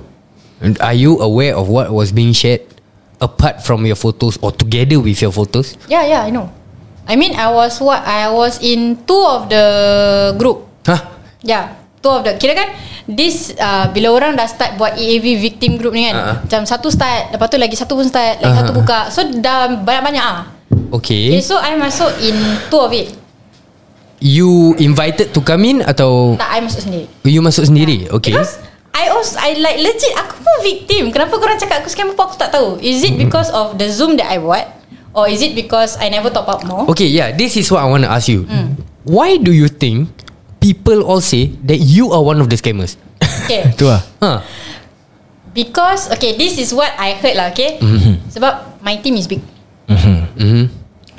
[SPEAKER 2] And Are you aware of what was being shared apart from your photos or together with your photos?
[SPEAKER 7] Yeah, yeah, I know. I mean, I was what I was in two of the group.
[SPEAKER 2] Huh?
[SPEAKER 7] Yeah, two of the. Kira kan this uh, bila orang dah start buat EAV victim group ni kan.
[SPEAKER 2] Ah.
[SPEAKER 7] Uh-huh. Macam satu start, lepas tu lagi satu pun start, lagi
[SPEAKER 2] Ah.
[SPEAKER 7] uh-huh. satu buka. So dah banyak-banyak ah. Okay,
[SPEAKER 2] Okay.
[SPEAKER 7] so I masuk in two of it.
[SPEAKER 2] You invited to come in atau
[SPEAKER 7] Tak, I masuk sendiri.
[SPEAKER 2] you masuk sendiri? Okay.
[SPEAKER 7] Because I also I like legit aku pun victim. Kenapa korang cakap aku scam apa aku tak tahu. Is it because of the Zoom that I buat or is it because I never top up more?
[SPEAKER 2] Okay, yeah, this is what I want to ask you.
[SPEAKER 7] Hmm.
[SPEAKER 2] Why do you think people all say that you are one of the scammers?
[SPEAKER 7] Okay.
[SPEAKER 3] Tu lah.
[SPEAKER 2] Huh?
[SPEAKER 7] Because Okay this is what I heard lah Okay Sebab My team is big
[SPEAKER 2] Mm-hmm.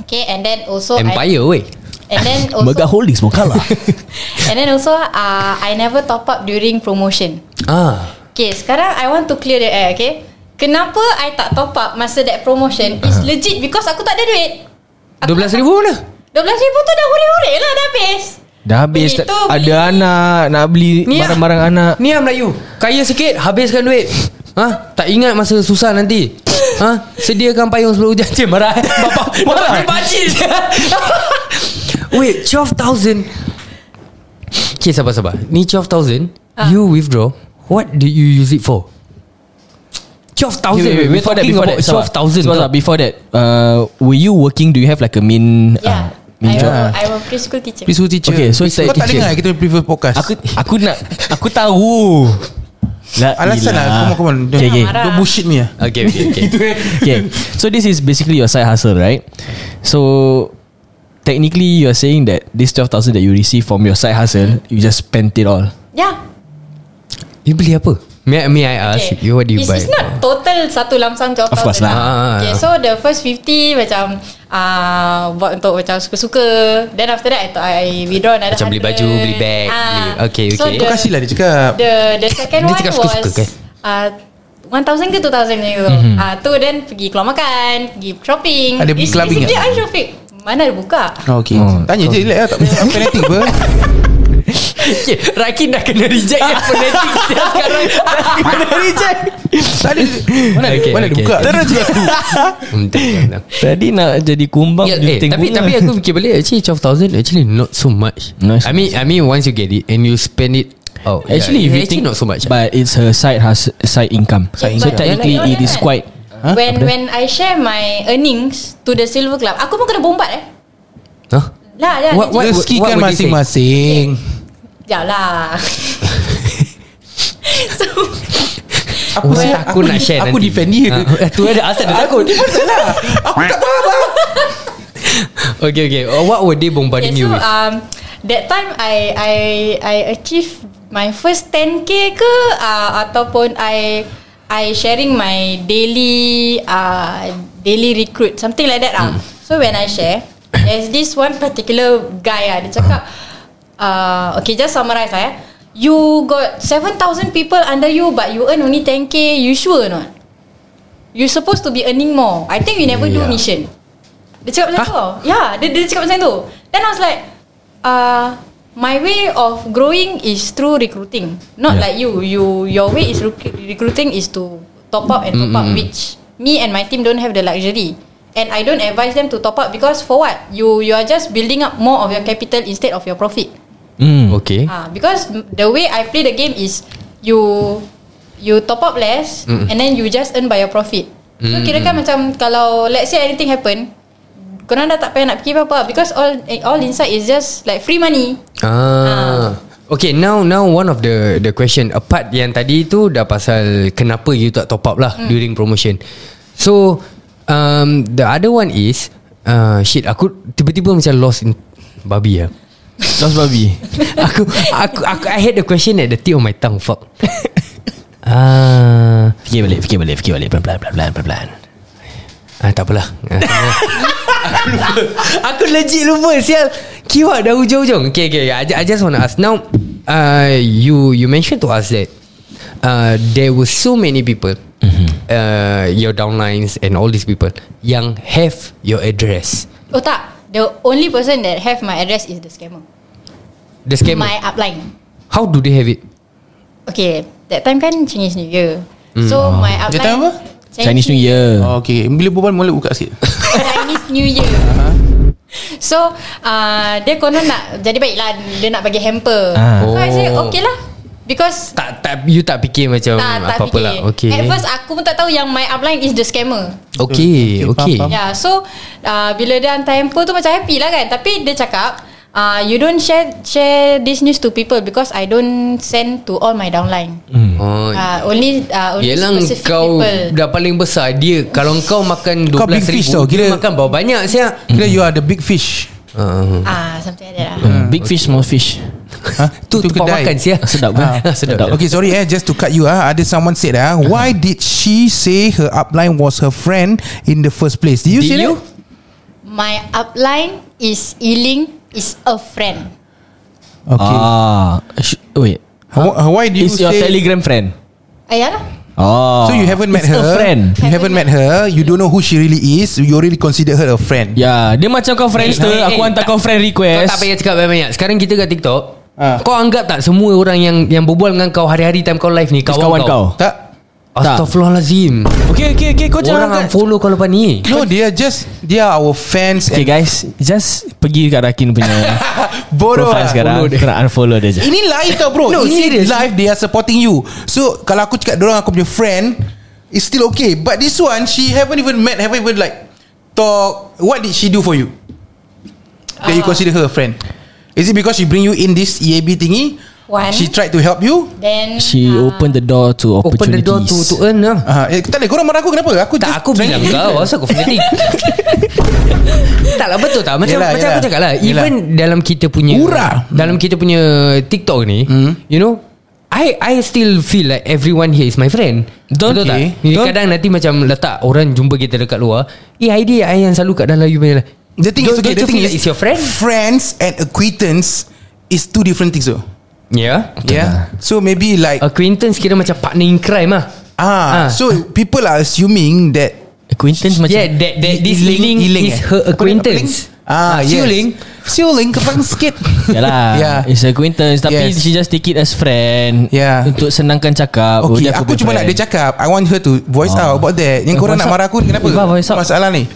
[SPEAKER 7] Okay and then also I,
[SPEAKER 2] Empire weh.
[SPEAKER 7] And then
[SPEAKER 3] Mega
[SPEAKER 7] also
[SPEAKER 3] Holdings pun kalah.
[SPEAKER 7] And then also uh, I never top up during promotion
[SPEAKER 2] Ah.
[SPEAKER 7] Okay sekarang I want to clear the air Okay Kenapa I tak top up Masa that promotion Is legit Because aku tak ada duit Aku-
[SPEAKER 2] RM12,000 mana?
[SPEAKER 7] 12 ribu tu dah huri-huri lah Dah habis
[SPEAKER 3] Dah habis
[SPEAKER 7] Beli
[SPEAKER 3] tak,
[SPEAKER 7] tu, Eh, beli
[SPEAKER 3] Ada anak Nak beli
[SPEAKER 2] Ni lah.
[SPEAKER 3] barang-barang anak
[SPEAKER 2] Ni lah Melayu Kaya sikit Habiskan duit Ha? Tak ingat masa susah nanti Ha? Sediakan payung sebelum hujan Cik marah eh? Bapak Bapak cik pakcik Wait 12,000 Okay sabar sabar Ni 12,000
[SPEAKER 7] Ah.
[SPEAKER 2] You withdraw What do you use it for? 12,000 We're talking about
[SPEAKER 3] sabar.
[SPEAKER 2] 12,000
[SPEAKER 3] Sabar, sabar, Before that uh, Were you working Do you have like a main
[SPEAKER 7] Yeah
[SPEAKER 3] uh, Main
[SPEAKER 7] I,
[SPEAKER 3] job
[SPEAKER 7] will, I will preschool teacher
[SPEAKER 6] Preschool teacher
[SPEAKER 3] Okay, so
[SPEAKER 6] Preschool-
[SPEAKER 3] it's like
[SPEAKER 6] Kau tak
[SPEAKER 3] teacher.
[SPEAKER 6] dengar Kita punya previous podcast
[SPEAKER 3] Aku aku nak Aku tahu La
[SPEAKER 6] Alasan lah
[SPEAKER 3] ilah.
[SPEAKER 6] Come on come on Don't,
[SPEAKER 3] Okay, okay.
[SPEAKER 7] marah.
[SPEAKER 6] don't bullshit me lah
[SPEAKER 2] Okay okay okay
[SPEAKER 3] eh. okay. So this is basically your side hustle, right? So technically you are saying that this 12,000 that you receive from your side hustle, you just spent it all.
[SPEAKER 7] Yeah
[SPEAKER 2] You beli apa? May, may I ask you What do you
[SPEAKER 7] it's,
[SPEAKER 2] buy
[SPEAKER 7] It's not total Satu lamsam 12,000
[SPEAKER 3] Of course lah.
[SPEAKER 2] Ah.
[SPEAKER 7] Okay so the first 50 Macam uh, Buat untuk macam Suka-suka Then after that I, thought I withdraw another
[SPEAKER 2] Macam beli
[SPEAKER 7] 100.
[SPEAKER 2] baju, beli bag,
[SPEAKER 7] Ah.
[SPEAKER 2] beli- okay,
[SPEAKER 7] so
[SPEAKER 2] okay.
[SPEAKER 7] the,
[SPEAKER 6] Kau kasih lah dia cakap
[SPEAKER 7] The, the second
[SPEAKER 2] Dia
[SPEAKER 7] one
[SPEAKER 2] cakap
[SPEAKER 7] was
[SPEAKER 2] suka-suka kan? Mhm. ke?
[SPEAKER 7] uh, 1,000 ke 2,000 macam tu mm-hmm. uh, Tu then pergi keluar makan Pergi shopping
[SPEAKER 6] Ada pergi
[SPEAKER 7] It's-
[SPEAKER 6] clubbing
[SPEAKER 7] It's
[SPEAKER 6] tak?
[SPEAKER 7] I shopping Mana ada buka
[SPEAKER 6] Oh, okay.
[SPEAKER 3] Oh,
[SPEAKER 6] Tanya je relax lah Tak payah fanatik apa
[SPEAKER 2] okay, Rakin dah kena reject Yang fanatic dia sekarang
[SPEAKER 6] Tak ada Mana ada,
[SPEAKER 2] Okay,
[SPEAKER 6] mana ada
[SPEAKER 2] okay.
[SPEAKER 6] buka Terus je
[SPEAKER 3] Tadi nak jadi kumbang
[SPEAKER 2] Yeah,
[SPEAKER 3] you
[SPEAKER 2] eh,
[SPEAKER 3] tengok
[SPEAKER 2] tapi
[SPEAKER 3] lah.
[SPEAKER 2] tapi aku fikir balik actually 12000 actually not so much.
[SPEAKER 3] Nice,
[SPEAKER 2] I mean I mean once you get it and you spend it oh
[SPEAKER 3] Actually, if
[SPEAKER 2] yeah,
[SPEAKER 3] you
[SPEAKER 2] actually
[SPEAKER 3] think
[SPEAKER 2] not so much. But
[SPEAKER 3] but it's her side has side income.
[SPEAKER 7] Side
[SPEAKER 3] so
[SPEAKER 7] income.
[SPEAKER 3] technically,
[SPEAKER 7] Yeah, like
[SPEAKER 3] it is
[SPEAKER 7] that.
[SPEAKER 3] quite.
[SPEAKER 7] huh? When when I share my earnings To the silver club Aku pun kena bombat eh
[SPEAKER 2] huh?
[SPEAKER 7] Lah lah
[SPEAKER 2] What- what-
[SPEAKER 6] Rezeki
[SPEAKER 2] what
[SPEAKER 6] kan
[SPEAKER 2] would you say?
[SPEAKER 6] masing-masing
[SPEAKER 7] Sekejap lah So
[SPEAKER 6] Apa
[SPEAKER 2] Well,
[SPEAKER 6] saya
[SPEAKER 2] aku nak share
[SPEAKER 6] Aku
[SPEAKER 2] nanti.
[SPEAKER 6] defend dia
[SPEAKER 2] Ah, tu ada asal dia takut. Okay okay. Uh, what were they bombarding
[SPEAKER 7] yeah,
[SPEAKER 2] you
[SPEAKER 7] so
[SPEAKER 2] with?
[SPEAKER 7] um, That time I I I achieve My first 10k ke uh, Ataupun I I sharing my daily uh, Daily recruit Something like that
[SPEAKER 2] Hmm.
[SPEAKER 7] lah So when I share There's this one particular guy ah, Dia cakap uh, Okay just summarize lah eh You got 7,000 people under you But you earn only 10k You sure or not? You supposed to be earning more I think you never do
[SPEAKER 2] Yeah.
[SPEAKER 7] mission Dia cakap macam tu tau Yeah dia, dia cakap macam tu Then I was like uh, My way of growing Is through recruiting Not
[SPEAKER 3] Yeah.
[SPEAKER 7] like you You Your way is rec- recruiting Is to Top up and top up Which Me and my team Don't have the luxury And I don't advise them To top up Because for what You you are just building up More of your capital Instead of your profit
[SPEAKER 3] Mm.
[SPEAKER 2] Hmm, okay.
[SPEAKER 7] Ah, because the way I play the game is you you top up less mm. and then you just earn by your profit. Mm. So kira kan macam kalau let's say anything happen, korang dah tak payah nak fikir apa-apa because all eh, all inside is just like free money.
[SPEAKER 2] Ah. Okay now now one of the the question apart yang tadi tu dah pasal kenapa you tak top up lah mm. during promotion. So um the other one is uh, shit aku tiba-tiba macam lost in babi ya.
[SPEAKER 3] Lost babi.
[SPEAKER 2] aku, aku aku I had the question at the tip of my tongue fuck. Ah,
[SPEAKER 3] Fikir balik, fikir balik, fikir balik. Pelan, pelan, pelan, pelan, pelan, pelan.
[SPEAKER 2] ah tak apalah. Ah, tak apalah. aku legit lupa sial. Kiwak dah hujung-hujung. Okay, okay. I, ju- I just want to ask now uh, you you mentioned to us that uh, there were so many people mm-hmm. uh, your downlines and all these people yang have your address.
[SPEAKER 7] Oh tak, the only person that have my address is the scammer.
[SPEAKER 2] The scammer.
[SPEAKER 7] My upline.
[SPEAKER 2] How do they have it?
[SPEAKER 7] Okay, that time kan Chinese New Year. Mm. So my upline.
[SPEAKER 6] That time apa?
[SPEAKER 3] Chinese New Year.
[SPEAKER 6] Oh, Okay Bila berbual mula buka sikit
[SPEAKER 2] Mm.
[SPEAKER 7] Chinese New Year So uh, Dia konon nak Jadi baiklah Dia nak bagi hamper
[SPEAKER 3] Ah.
[SPEAKER 7] So I say
[SPEAKER 2] Oh.
[SPEAKER 7] okay lah Because
[SPEAKER 2] Tak tak you tak fikir macam
[SPEAKER 7] tak, tak
[SPEAKER 2] apa-apa
[SPEAKER 7] fikir
[SPEAKER 2] lah. Okay.
[SPEAKER 7] At first aku pun tak tahu Yang my upline is the scammer
[SPEAKER 2] Okay,
[SPEAKER 6] Okay,
[SPEAKER 2] okay. Hmm.
[SPEAKER 6] faham,
[SPEAKER 7] Yeah so uh, Bila dia hantar hamper tu Macam happy lah kan Tapi dia cakap uh, You don't share Share this news to people Because I don't Send to all my downline
[SPEAKER 2] Oh,
[SPEAKER 7] uh, Only uh, Only
[SPEAKER 2] Yelah
[SPEAKER 7] specific
[SPEAKER 2] kau
[SPEAKER 7] people
[SPEAKER 2] dah paling besar Dia Kalau kau makan 12
[SPEAKER 6] Kau big
[SPEAKER 2] ribu
[SPEAKER 6] fish tau,
[SPEAKER 2] Dia
[SPEAKER 6] kira-
[SPEAKER 2] makan bawa banyak siap
[SPEAKER 6] Kira you are the big fish
[SPEAKER 2] uh,
[SPEAKER 7] Ah, Something like that lah
[SPEAKER 2] Hmm.
[SPEAKER 3] Mm, Big fish, small fish.
[SPEAKER 6] Ha?
[SPEAKER 2] Tu tempat
[SPEAKER 6] kedai.
[SPEAKER 2] makan siap
[SPEAKER 3] Sedap Uh-huh.
[SPEAKER 6] Ah,
[SPEAKER 3] kan?
[SPEAKER 2] sedap.
[SPEAKER 6] Okay sorry eh Just to cut you ah. Ada someone said ah, Why did she say Her upline was her friend In the first place Did you
[SPEAKER 2] Did
[SPEAKER 6] say
[SPEAKER 2] you?
[SPEAKER 6] that?
[SPEAKER 7] My upline is Ealing is a friend.
[SPEAKER 6] Okay
[SPEAKER 3] Ah, sh- wait.
[SPEAKER 6] Wh- Why do you
[SPEAKER 3] Is your
[SPEAKER 6] say
[SPEAKER 3] Telegram friend?
[SPEAKER 7] Ayalah.
[SPEAKER 3] Oh,
[SPEAKER 6] So you haven't met
[SPEAKER 3] it's
[SPEAKER 6] her
[SPEAKER 3] A friend.
[SPEAKER 6] You haven't met her You don't know who she really is You already consider her a friend
[SPEAKER 3] Ya, yeah, dia macam kau friendster.
[SPEAKER 2] Eh, eh,
[SPEAKER 3] aku hantar
[SPEAKER 2] tak-
[SPEAKER 3] kau friend
[SPEAKER 2] Kau
[SPEAKER 3] request.
[SPEAKER 2] tak payah cakap banyak-banyak Sekarang kita kat TikTok
[SPEAKER 6] Ah.
[SPEAKER 2] Kau anggap tak semua orang yang yang berbual dengan kau hari-hari time kau live ni kawan,
[SPEAKER 3] kawan kau.
[SPEAKER 6] Tak
[SPEAKER 2] Astaghfirullahalazim.
[SPEAKER 3] Okay, okay, okay. Kau jangan
[SPEAKER 2] Orang
[SPEAKER 3] angkat.
[SPEAKER 2] unfollow kau lepas ni.
[SPEAKER 6] No they are just They are our fans
[SPEAKER 3] Okay
[SPEAKER 6] and
[SPEAKER 3] guys, just pergi kat Rakin punya
[SPEAKER 6] Bodoh
[SPEAKER 3] profile
[SPEAKER 6] lah.
[SPEAKER 3] sekarang.
[SPEAKER 6] Follow dia.
[SPEAKER 3] Kau nak unfollow dia je.
[SPEAKER 6] Ini live tau bro
[SPEAKER 2] No,
[SPEAKER 6] Ini
[SPEAKER 2] serious.
[SPEAKER 6] live They are supporting you So Kalau aku cakap Diorang aku punya friend It's still okay But this one She haven't even met Haven't even like Talk What did she do for you That
[SPEAKER 2] Ah.
[SPEAKER 6] you consider her a friend Is it because she bring you in this EAB thingy
[SPEAKER 7] One.
[SPEAKER 6] She tried to help you
[SPEAKER 7] Then
[SPEAKER 3] She
[SPEAKER 7] ah,
[SPEAKER 3] open the door to
[SPEAKER 2] Open the
[SPEAKER 3] opportunities.
[SPEAKER 2] door to to earn lah.
[SPEAKER 6] uh, eh, Tak boleh korang marah aku kenapa Aku
[SPEAKER 2] Tak
[SPEAKER 6] just
[SPEAKER 2] aku
[SPEAKER 6] trying
[SPEAKER 2] bilang
[SPEAKER 6] to-
[SPEAKER 2] kau Asal kau fanatik Tak lah betul tak Macam,
[SPEAKER 6] Yelah,
[SPEAKER 2] yelah, macam yelah.
[SPEAKER 6] yelah.
[SPEAKER 2] aku cakap lah
[SPEAKER 6] Yelah.
[SPEAKER 2] Even dalam kita punya
[SPEAKER 6] Hurrah. Hmm.
[SPEAKER 2] Dalam kita punya TikTok ni You know I I still feel like everyone here is my friend.
[SPEAKER 3] Betul.
[SPEAKER 2] Betul
[SPEAKER 6] Okay.
[SPEAKER 2] tak?
[SPEAKER 3] Betul.
[SPEAKER 2] Kadang nanti macam letak orang jumpa kita dekat luar. Eh, idea I yang selalu kat dalam you punya lah.
[SPEAKER 6] The thing is
[SPEAKER 2] Don't-
[SPEAKER 6] okay.
[SPEAKER 2] don't you
[SPEAKER 6] The thing
[SPEAKER 2] feel
[SPEAKER 6] is
[SPEAKER 2] like it's your friend?
[SPEAKER 6] Friends and acquaintance is two different things though.
[SPEAKER 2] Yeah.
[SPEAKER 6] Yeah. So maybe like
[SPEAKER 2] Acquaintance kira macam partner in crime lah. Ah.
[SPEAKER 6] ah, so people are assuming that
[SPEAKER 3] Acquaintance macam
[SPEAKER 2] Yeah, that, that
[SPEAKER 6] He-
[SPEAKER 2] this
[SPEAKER 6] he link-
[SPEAKER 2] link,
[SPEAKER 6] he link
[SPEAKER 2] is
[SPEAKER 6] eh?
[SPEAKER 2] her
[SPEAKER 6] Apa dia-
[SPEAKER 2] acquaintance.
[SPEAKER 6] apa link? Ah, yes.
[SPEAKER 2] Siuling.
[SPEAKER 6] Siuling kepang sikit.
[SPEAKER 3] Yalah
[SPEAKER 6] yeah.
[SPEAKER 3] yeah. Ya lah. It's acquaintance Tapi yes.
[SPEAKER 6] Yes.
[SPEAKER 3] she just take it as friend
[SPEAKER 6] Yeah.
[SPEAKER 3] Untuk senangkan cakap
[SPEAKER 6] Okay,
[SPEAKER 3] dia
[SPEAKER 6] aku cuma nak dia
[SPEAKER 3] boyfriend.
[SPEAKER 6] cakap I want her to voice
[SPEAKER 3] kan? Ah.
[SPEAKER 6] out about that. Yang
[SPEAKER 3] Eh,
[SPEAKER 6] korang
[SPEAKER 3] voice
[SPEAKER 6] nak
[SPEAKER 3] out.
[SPEAKER 6] marah aku ni kenapa?
[SPEAKER 3] Iva, voice out.
[SPEAKER 6] Masalah ni.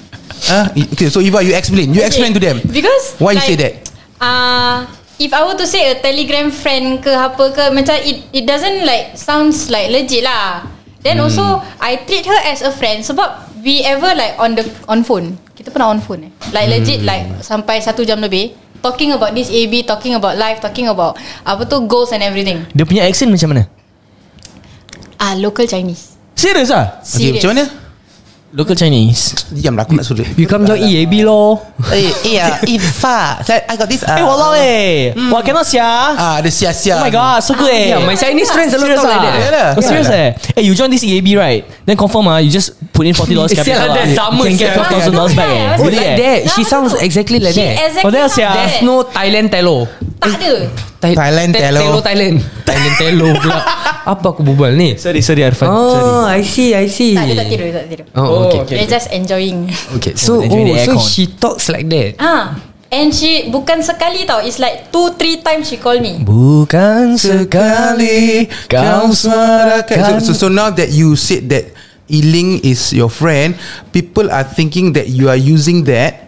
[SPEAKER 6] Ah, i- okay, so Iva you explain. You explain to them.
[SPEAKER 7] Because
[SPEAKER 6] why you
[SPEAKER 7] like,
[SPEAKER 6] say that?
[SPEAKER 7] Uh, if I were to say a telegram friend ke apa ke Macam it, it doesn't like Sounds like legit lah
[SPEAKER 6] Hmm.
[SPEAKER 7] Then also I treat her as a friend Sebab we ever like on the on phone Kita pernah on phone eh Like legit
[SPEAKER 6] Hmm.
[SPEAKER 7] like Sampai satu jam lebih Talking about this AB Talking about life Talking about Apa tu goals and everything
[SPEAKER 3] Dia punya accent macam mana
[SPEAKER 7] Ah uh, Local Chinese
[SPEAKER 3] Serius lah
[SPEAKER 6] Okay,
[SPEAKER 7] Serious
[SPEAKER 6] macam mana?
[SPEAKER 3] Local Chinese
[SPEAKER 6] Diam lah aku nak suruh.
[SPEAKER 2] You come join
[SPEAKER 6] lah.
[SPEAKER 2] E EAB lor.
[SPEAKER 6] Eh, iya, Iva. I got this.
[SPEAKER 3] Eh walau eh mm. Wah cannot sia
[SPEAKER 6] Ah, ada sia-sia.
[SPEAKER 3] Oh my god So good eh
[SPEAKER 2] Yeah, Ah, ya, my Chinese friends selalu
[SPEAKER 3] Serious
[SPEAKER 2] talk like
[SPEAKER 3] ah
[SPEAKER 2] that.
[SPEAKER 6] Yeah lah.
[SPEAKER 3] Oh, serious eh Eh you join this EAB right Then confirm ah You just put in
[SPEAKER 2] Eh,
[SPEAKER 3] $40 capital
[SPEAKER 2] sial lah,
[SPEAKER 3] ah.
[SPEAKER 2] that's sama
[SPEAKER 3] You can get
[SPEAKER 2] sia.
[SPEAKER 3] $12,000 back eh
[SPEAKER 2] Oh,
[SPEAKER 3] Really
[SPEAKER 2] like
[SPEAKER 3] eh?
[SPEAKER 2] that. She sounds exactly like
[SPEAKER 7] She
[SPEAKER 2] that.
[SPEAKER 7] exactly
[SPEAKER 3] Oh, there's
[SPEAKER 7] like
[SPEAKER 3] ya.
[SPEAKER 7] that.
[SPEAKER 2] There's no Thailand telo.
[SPEAKER 7] Tak
[SPEAKER 6] Eh.
[SPEAKER 7] ada
[SPEAKER 2] Thai-
[SPEAKER 6] Thailand
[SPEAKER 2] Thai-
[SPEAKER 6] telo.
[SPEAKER 2] Telo Thailand. Thailand telo pula. Apa aku berbual ni?
[SPEAKER 3] Sorry sorry Arfan Sorry
[SPEAKER 2] Oh, I see, I see.
[SPEAKER 7] Tak ada tak tidur Tak tidur
[SPEAKER 2] Oh, okay.
[SPEAKER 7] They're just enjoying
[SPEAKER 2] Okay. So,
[SPEAKER 3] Oh,
[SPEAKER 2] oh,
[SPEAKER 3] dia join the
[SPEAKER 2] so
[SPEAKER 3] aircon.
[SPEAKER 2] she talks like that.
[SPEAKER 7] Ah, and she bukan sekali tau. It's like two three times she call me.
[SPEAKER 3] Bukan
[SPEAKER 6] sekali kau suarakan. So, so, so now that you said that Iling is your friend, people are thinking that you are using that.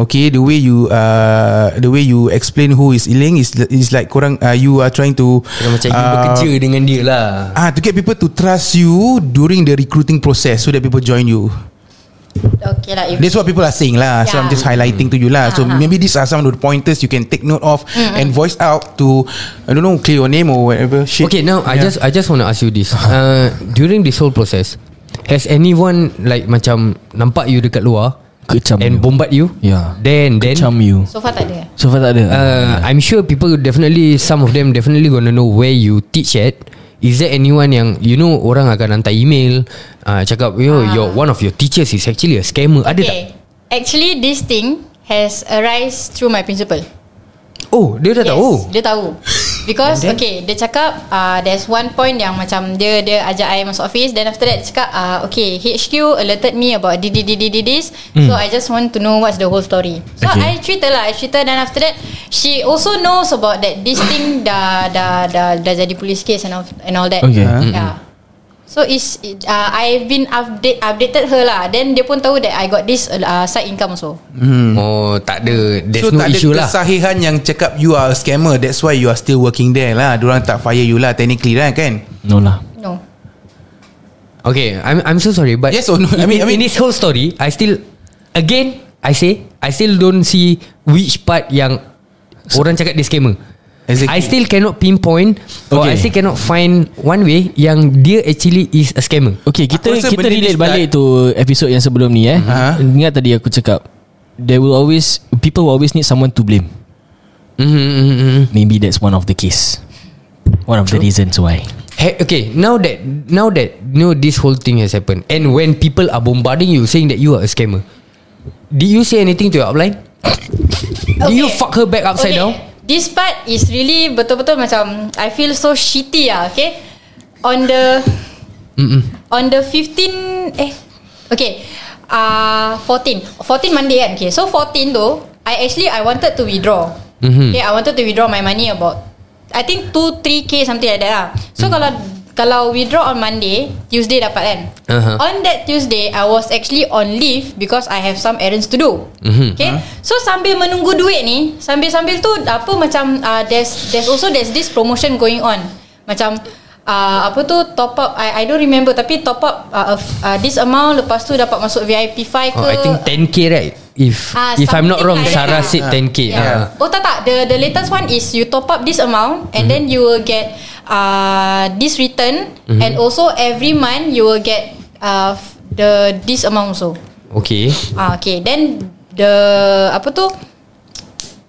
[SPEAKER 6] Okay, the way you uh, the way you explain who is Iling is is like korang uh, you are trying to
[SPEAKER 2] Kira macam you
[SPEAKER 6] uh,
[SPEAKER 2] bekerja dengan dia lah.
[SPEAKER 6] Ah, to get people to trust you during the recruiting process so that people join you.
[SPEAKER 7] Okay lah. If
[SPEAKER 6] That's what people are saying lah. So
[SPEAKER 7] Yeah.
[SPEAKER 6] I'm just highlighting to you lah. So
[SPEAKER 7] Ah, ah.
[SPEAKER 6] maybe these are some of the pointers you can take note of and voice out to I don't know clear your name or whatever shit.
[SPEAKER 2] Okay, now I
[SPEAKER 6] Yeah.
[SPEAKER 2] just I just want to ask you this. Uh, during this whole process, has anyone like macam nampak you dekat luar
[SPEAKER 3] Kecam
[SPEAKER 2] and
[SPEAKER 3] you.
[SPEAKER 2] bombard you?
[SPEAKER 3] Yeah.
[SPEAKER 2] Then then
[SPEAKER 3] Kecam you
[SPEAKER 7] so far tak ada.
[SPEAKER 3] So far tak ada
[SPEAKER 2] uh, I'm sure people definitely some of them definitely gonna know where you teach at. Is there anyone yang you know orang akan hantar email uh, cakap yo your one of your teachers is actually a scammer. Ada tak?
[SPEAKER 7] Okay. Actually, this thing has arise through my principal.
[SPEAKER 2] Oh, dia dah tahu.
[SPEAKER 7] Dia tahu. Because okay, dia cakap uh, there's one point yang macam dia dia ajak I masuk office then after that dia cakap uh, okay, HQ alerted me about this this, this, this, this so I just want to know what's the whole story. So
[SPEAKER 3] Okay.
[SPEAKER 7] I cerita lah, I cerita then after that she also knows about that this thing dah dah dah dah jadi police case and all, and all that.
[SPEAKER 3] Okay.
[SPEAKER 7] Yeah. So is it, uh, I've been update updated her lah. Then dia pun tahu that I got this uh, side income also.
[SPEAKER 2] Oh, tak ada. There's
[SPEAKER 6] Hmm. so
[SPEAKER 2] no
[SPEAKER 6] tak ada
[SPEAKER 2] issue lah.
[SPEAKER 6] kesahihan yang cakap you are a scammer. That's why you are still working there lah. Diorang tak fire you lah technically lah kan.
[SPEAKER 3] No lah
[SPEAKER 7] No.
[SPEAKER 2] Okay, I'm I'm so sorry, but
[SPEAKER 6] Yes or no?
[SPEAKER 2] I
[SPEAKER 6] I
[SPEAKER 2] mean,
[SPEAKER 6] mean- I mean-
[SPEAKER 2] in this whole story, I still again I say I still don't see which part yang orang cakap dia scammer.
[SPEAKER 6] Exactly.
[SPEAKER 2] I still cannot pinpoint or
[SPEAKER 3] Okay.
[SPEAKER 2] I still cannot find one way yang dia actually is a scammer.
[SPEAKER 3] Okay kita
[SPEAKER 6] Aku rasa
[SPEAKER 3] kita
[SPEAKER 6] benda ni
[SPEAKER 3] relate
[SPEAKER 6] start-
[SPEAKER 3] balik tu episode yang sebelum ni eh.
[SPEAKER 6] Ha?
[SPEAKER 3] Uh-huh. Ingat tadi aku cakap there will always people will always need someone to blame.
[SPEAKER 2] Mm-hmm.
[SPEAKER 3] Maybe that's one of the case. One of the reasons why.
[SPEAKER 2] Hey, okay, now that now that you know this whole thing has happened and when people are bombarding you saying that you are a scammer, did you say anything to your upline? Did you fuck her back upside down?
[SPEAKER 7] This part is really betul-betul macam I feel so shitty lah, okay? On the on the 15 eh okay, ah uh, 14. 14 Monday kan. Okay, so 14 tu I actually I wanted to withdraw.
[SPEAKER 2] Mhm.
[SPEAKER 7] Okay, I wanted to withdraw my money about I think 2 3k something like that lah. So
[SPEAKER 2] Mm.
[SPEAKER 7] kalau kalau withdraw on Monday, Tuesday dapat kan?
[SPEAKER 2] Aha.
[SPEAKER 7] On that Tuesday, I was actually on leave because I have some errands to do.
[SPEAKER 2] Mhm.
[SPEAKER 7] Okay. So sambil menunggu duit ni, sambil-sambil tu apa macam uh, there's there's also there's this promotion going on. Macam uh, apa tu top up I I don't remember tapi top up uh, of, uh, this amount lepas tu dapat masuk VIP 5 ke.
[SPEAKER 2] Oh, I think 10k right? If
[SPEAKER 7] Ah,
[SPEAKER 2] if I'm not
[SPEAKER 7] Uh, something
[SPEAKER 2] wrong,
[SPEAKER 7] like that
[SPEAKER 2] Sarah
[SPEAKER 7] lah.
[SPEAKER 2] said 10k.
[SPEAKER 7] Yeah.
[SPEAKER 2] Ah.
[SPEAKER 7] Oh tak tak the the latest one is you top up this amount
[SPEAKER 2] Mm-hmm.
[SPEAKER 7] and then you will get uh this return
[SPEAKER 2] Mm-hmm.
[SPEAKER 7] and also every month you will get uh f- the this amount also.
[SPEAKER 2] Okay.
[SPEAKER 7] Ah okay then the apa tu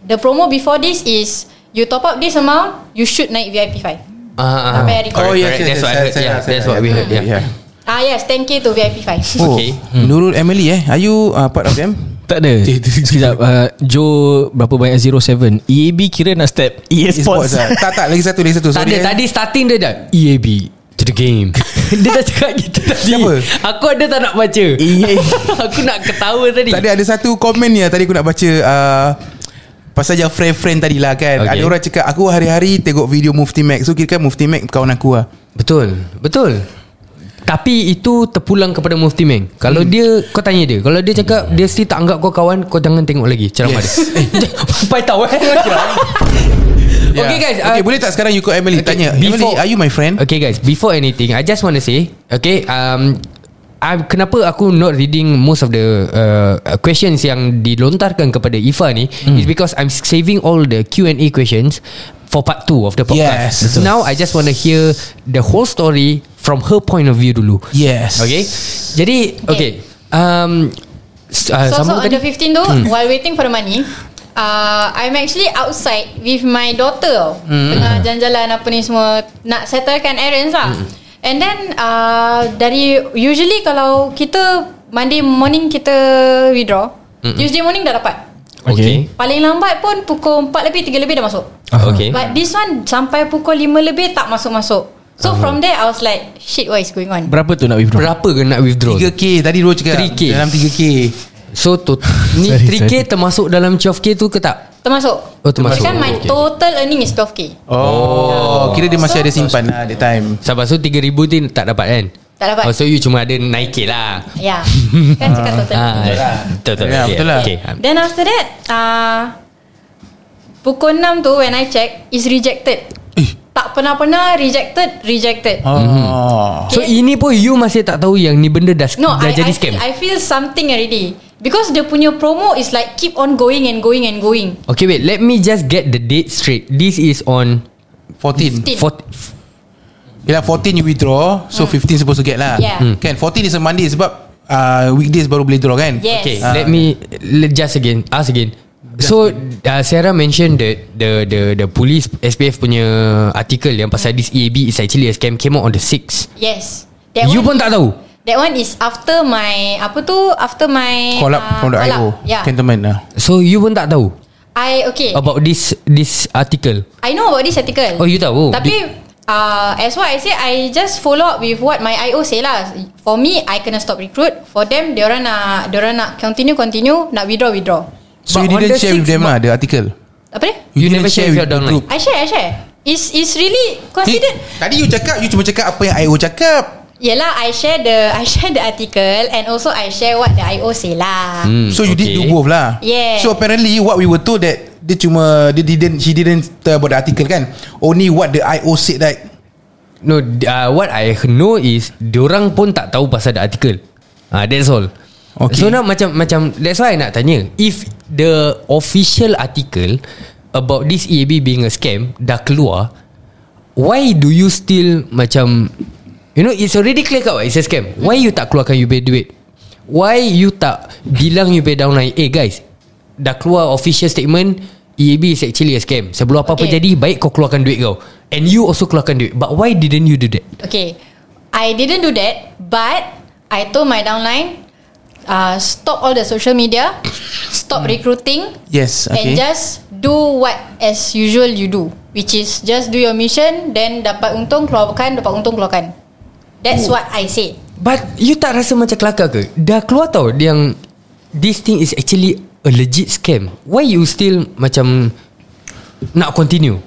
[SPEAKER 7] the promo before this is you top up this amount you should naik VIP 5.
[SPEAKER 2] Ah, ah,
[SPEAKER 7] Apa
[SPEAKER 2] ah.
[SPEAKER 7] yang record
[SPEAKER 2] Correct,
[SPEAKER 6] Oh, yes,
[SPEAKER 2] correct.
[SPEAKER 6] yes,
[SPEAKER 2] That's
[SPEAKER 6] yes,
[SPEAKER 2] what I
[SPEAKER 6] yes,
[SPEAKER 2] heard.
[SPEAKER 6] yes,
[SPEAKER 2] Yeah,
[SPEAKER 6] yes,
[SPEAKER 2] that's
[SPEAKER 6] yes,
[SPEAKER 2] what we heard. Yeah.
[SPEAKER 6] Yeah.
[SPEAKER 7] Ah yes 10k to VIP 5
[SPEAKER 6] Oh,
[SPEAKER 2] Okay. Hmm.
[SPEAKER 6] Nurul Emily eh Are you uh, part of them?
[SPEAKER 3] Tak ada
[SPEAKER 2] Eh,
[SPEAKER 3] Sekejap uh, Joe Berapa banyak 07 EAB kira nak step E EA Sports
[SPEAKER 6] Esports lah Tak tak lagi satu Lagi satu
[SPEAKER 2] Tak ada
[SPEAKER 6] Sorry, eh.
[SPEAKER 2] Tadi starting dia dah EAB To the game Dia dah cakap gitu tadi
[SPEAKER 6] Siapa?
[SPEAKER 2] Aku ada tak nak baca
[SPEAKER 3] EA
[SPEAKER 2] Aku nak ketawa tadi
[SPEAKER 6] Tadi ada satu komen ni lah Tadi aku nak baca uh, Pasal yang friend-friend tadi lah kan
[SPEAKER 2] Okay.
[SPEAKER 6] okay. Ada orang cakap Aku hari-hari tengok video Mufti Mac So kira kan Mufti Mac kawan aku lah
[SPEAKER 2] Betul Betul Tapi itu terpulang kepada Mufti Meng Kalau
[SPEAKER 6] Hmm.
[SPEAKER 2] dia Kau tanya dia Kalau dia cakap Dia still tak anggap kau kawan Kau jangan tengok lagi Ceramah yes. dia Eh, Sampai tahu eh Okay guys uh,
[SPEAKER 6] Ya. Okay boleh tak sekarang You call Emily okay, Tanya Emily
[SPEAKER 2] before-
[SPEAKER 6] are you my friend?
[SPEAKER 2] Okay guys Before anything I just want to say Okay um, I, Kenapa aku not reading Most of the uh, Questions yang Dilontarkan kepada Ifa ni
[SPEAKER 6] Hmm.
[SPEAKER 2] mm. Is because I'm saving all the Q&A questions For part 2 of the podcast
[SPEAKER 6] Yes, betul.
[SPEAKER 2] Now I just want to hear The whole story From her point of view dulu
[SPEAKER 6] Yes
[SPEAKER 2] Okay Jadi Okay, okay um, s- uh,
[SPEAKER 7] So, so
[SPEAKER 2] sambung
[SPEAKER 7] on
[SPEAKER 2] tadi.
[SPEAKER 7] the 15 tu While waiting for the money uh, I'm actually outside With my daughter hmm. Tengah jalan-jalan Apa ni semua Nak settlekan errands lah hmm. And then uh, Dari Usually kalau Kita Monday morning kita Withdraw hmm. Tuesday morning dah dapat
[SPEAKER 2] Okay
[SPEAKER 7] Paling lambat pun Pukul 4 lebih 3 lebih dah masuk
[SPEAKER 2] Okay
[SPEAKER 3] Uh-huh.
[SPEAKER 7] But this one Sampai pukul 5 lebih Tak masuk-masuk So from there I was like Shit what is going on
[SPEAKER 3] Berapa tu nak withdraw
[SPEAKER 2] Berapa ke nak withdraw
[SPEAKER 6] 3K Tadi Nurul cakap
[SPEAKER 2] 3K.
[SPEAKER 6] Dalam 3K
[SPEAKER 2] So to, Ni
[SPEAKER 3] Sorry,
[SPEAKER 2] 3K termasuk dalam 12K tu ke tak
[SPEAKER 7] Termasuk
[SPEAKER 2] Oh, termasuk.
[SPEAKER 7] Kan my
[SPEAKER 2] Okay.
[SPEAKER 7] total earning is 12k
[SPEAKER 6] Oh Kira dia masih
[SPEAKER 7] So-
[SPEAKER 6] ada simpan lah That time
[SPEAKER 2] Sabar so 3,000 tu tak dapat kan
[SPEAKER 7] Tak dapat.
[SPEAKER 2] oh, So you cuma ada naik lah
[SPEAKER 7] Ya Kan cakap total earning.
[SPEAKER 2] Ah, Betul betul
[SPEAKER 6] Ya, betul lah.
[SPEAKER 2] okay. Um,
[SPEAKER 7] Then after that uh, Pukul 6 tu When I check Is rejected
[SPEAKER 2] Eh.
[SPEAKER 7] Tak pernah-pernah Rejected Rejected
[SPEAKER 6] Oh
[SPEAKER 2] So ini pun you masih tak tahu Yang ni benda dah,
[SPEAKER 7] No
[SPEAKER 2] dah
[SPEAKER 7] I,
[SPEAKER 2] jadi
[SPEAKER 7] I,
[SPEAKER 2] scam
[SPEAKER 7] feel, I feel something already Because dia punya promo Is like Keep on going and going and going
[SPEAKER 2] Okay wait Let me just get the date straight This is on
[SPEAKER 6] 14
[SPEAKER 7] Fifteen. Hmm.
[SPEAKER 2] 14
[SPEAKER 6] Yelah 14 you withdraw So 15 supposed to get lah
[SPEAKER 7] Yeah. Hmm.
[SPEAKER 6] Kan 14 is a Monday Sebab uh, Weekdays baru boleh draw kan
[SPEAKER 7] Yes
[SPEAKER 2] Okay let me let Just again Ask again So uh, Sarah mentioned that the the the police SPF punya article yang pasal this EAB is actually a scam came out on the 6.
[SPEAKER 7] Yes
[SPEAKER 2] you pun
[SPEAKER 7] one
[SPEAKER 2] tak tahu.
[SPEAKER 7] That one is after my Apa tu After my
[SPEAKER 6] Call up
[SPEAKER 7] ah,
[SPEAKER 6] from the
[SPEAKER 7] call
[SPEAKER 6] IO
[SPEAKER 7] up. Yeah
[SPEAKER 6] Cantonment lah
[SPEAKER 2] So you pun tak tahu
[SPEAKER 7] I okay
[SPEAKER 2] about this this article.
[SPEAKER 7] I know about this article
[SPEAKER 2] Oh, you tahu?
[SPEAKER 7] Tapi uh, As what I say I just follow up With what my IO say lah For me I kena stop recruit For them Diorang nak Diorang nak continue continue Nak withdraw withdraw
[SPEAKER 6] So
[SPEAKER 2] But
[SPEAKER 6] you
[SPEAKER 2] on the
[SPEAKER 6] didn't share with
[SPEAKER 2] sixth
[SPEAKER 6] them
[SPEAKER 2] month-
[SPEAKER 6] lah The article
[SPEAKER 7] Apa ni
[SPEAKER 2] You
[SPEAKER 6] didn't
[SPEAKER 2] never share with your
[SPEAKER 6] the
[SPEAKER 2] downline?
[SPEAKER 6] group.
[SPEAKER 7] I share I share Is is really Considered
[SPEAKER 6] Eh, Tadi you cakap You cuma cakap apa yang IO cakap
[SPEAKER 7] Yelah I share the I share the article And also I share What the IO say lah hmm.
[SPEAKER 6] So you did do both lah
[SPEAKER 7] Yeah.
[SPEAKER 6] So apparently What we were told that Dia cuma Dia didn't She didn't tell about the article kan Only what the IO said that
[SPEAKER 2] No, uh, what I know is diorang pun tak tahu pasal the article. Ah, uh, that's all. Okay.
[SPEAKER 6] Okay.
[SPEAKER 2] So now macam macam that's why I nak tanya if the official article about this EAB being a scam dah keluar, why do you still macam you know it's already clear cut what it's a scam. Why you tak keluarkan you pay duit? Why you tak bilang you pay downline? Eh guys, dah keluar official statement EAB is actually a scam. Sebelum apa-apa
[SPEAKER 7] Okay.
[SPEAKER 2] jadi Baik kau keluarkan duit kau And you also keluarkan duit But why didn't you do that?
[SPEAKER 7] Okay I didn't do that But I told my downline uh, Stop all the social media Stop recruiting
[SPEAKER 6] Hmm. Yes
[SPEAKER 7] okay. and
[SPEAKER 6] okay.
[SPEAKER 7] just do what as usual you do which is just do your mission then dapat untung keluarkan dapat untung keluarkan that's
[SPEAKER 6] Oh.
[SPEAKER 7] what I say
[SPEAKER 2] But you tak rasa macam kelakar ke? Dah keluar tau dia Yang This thing is actually A legit scam Why you still Macam Nak continue?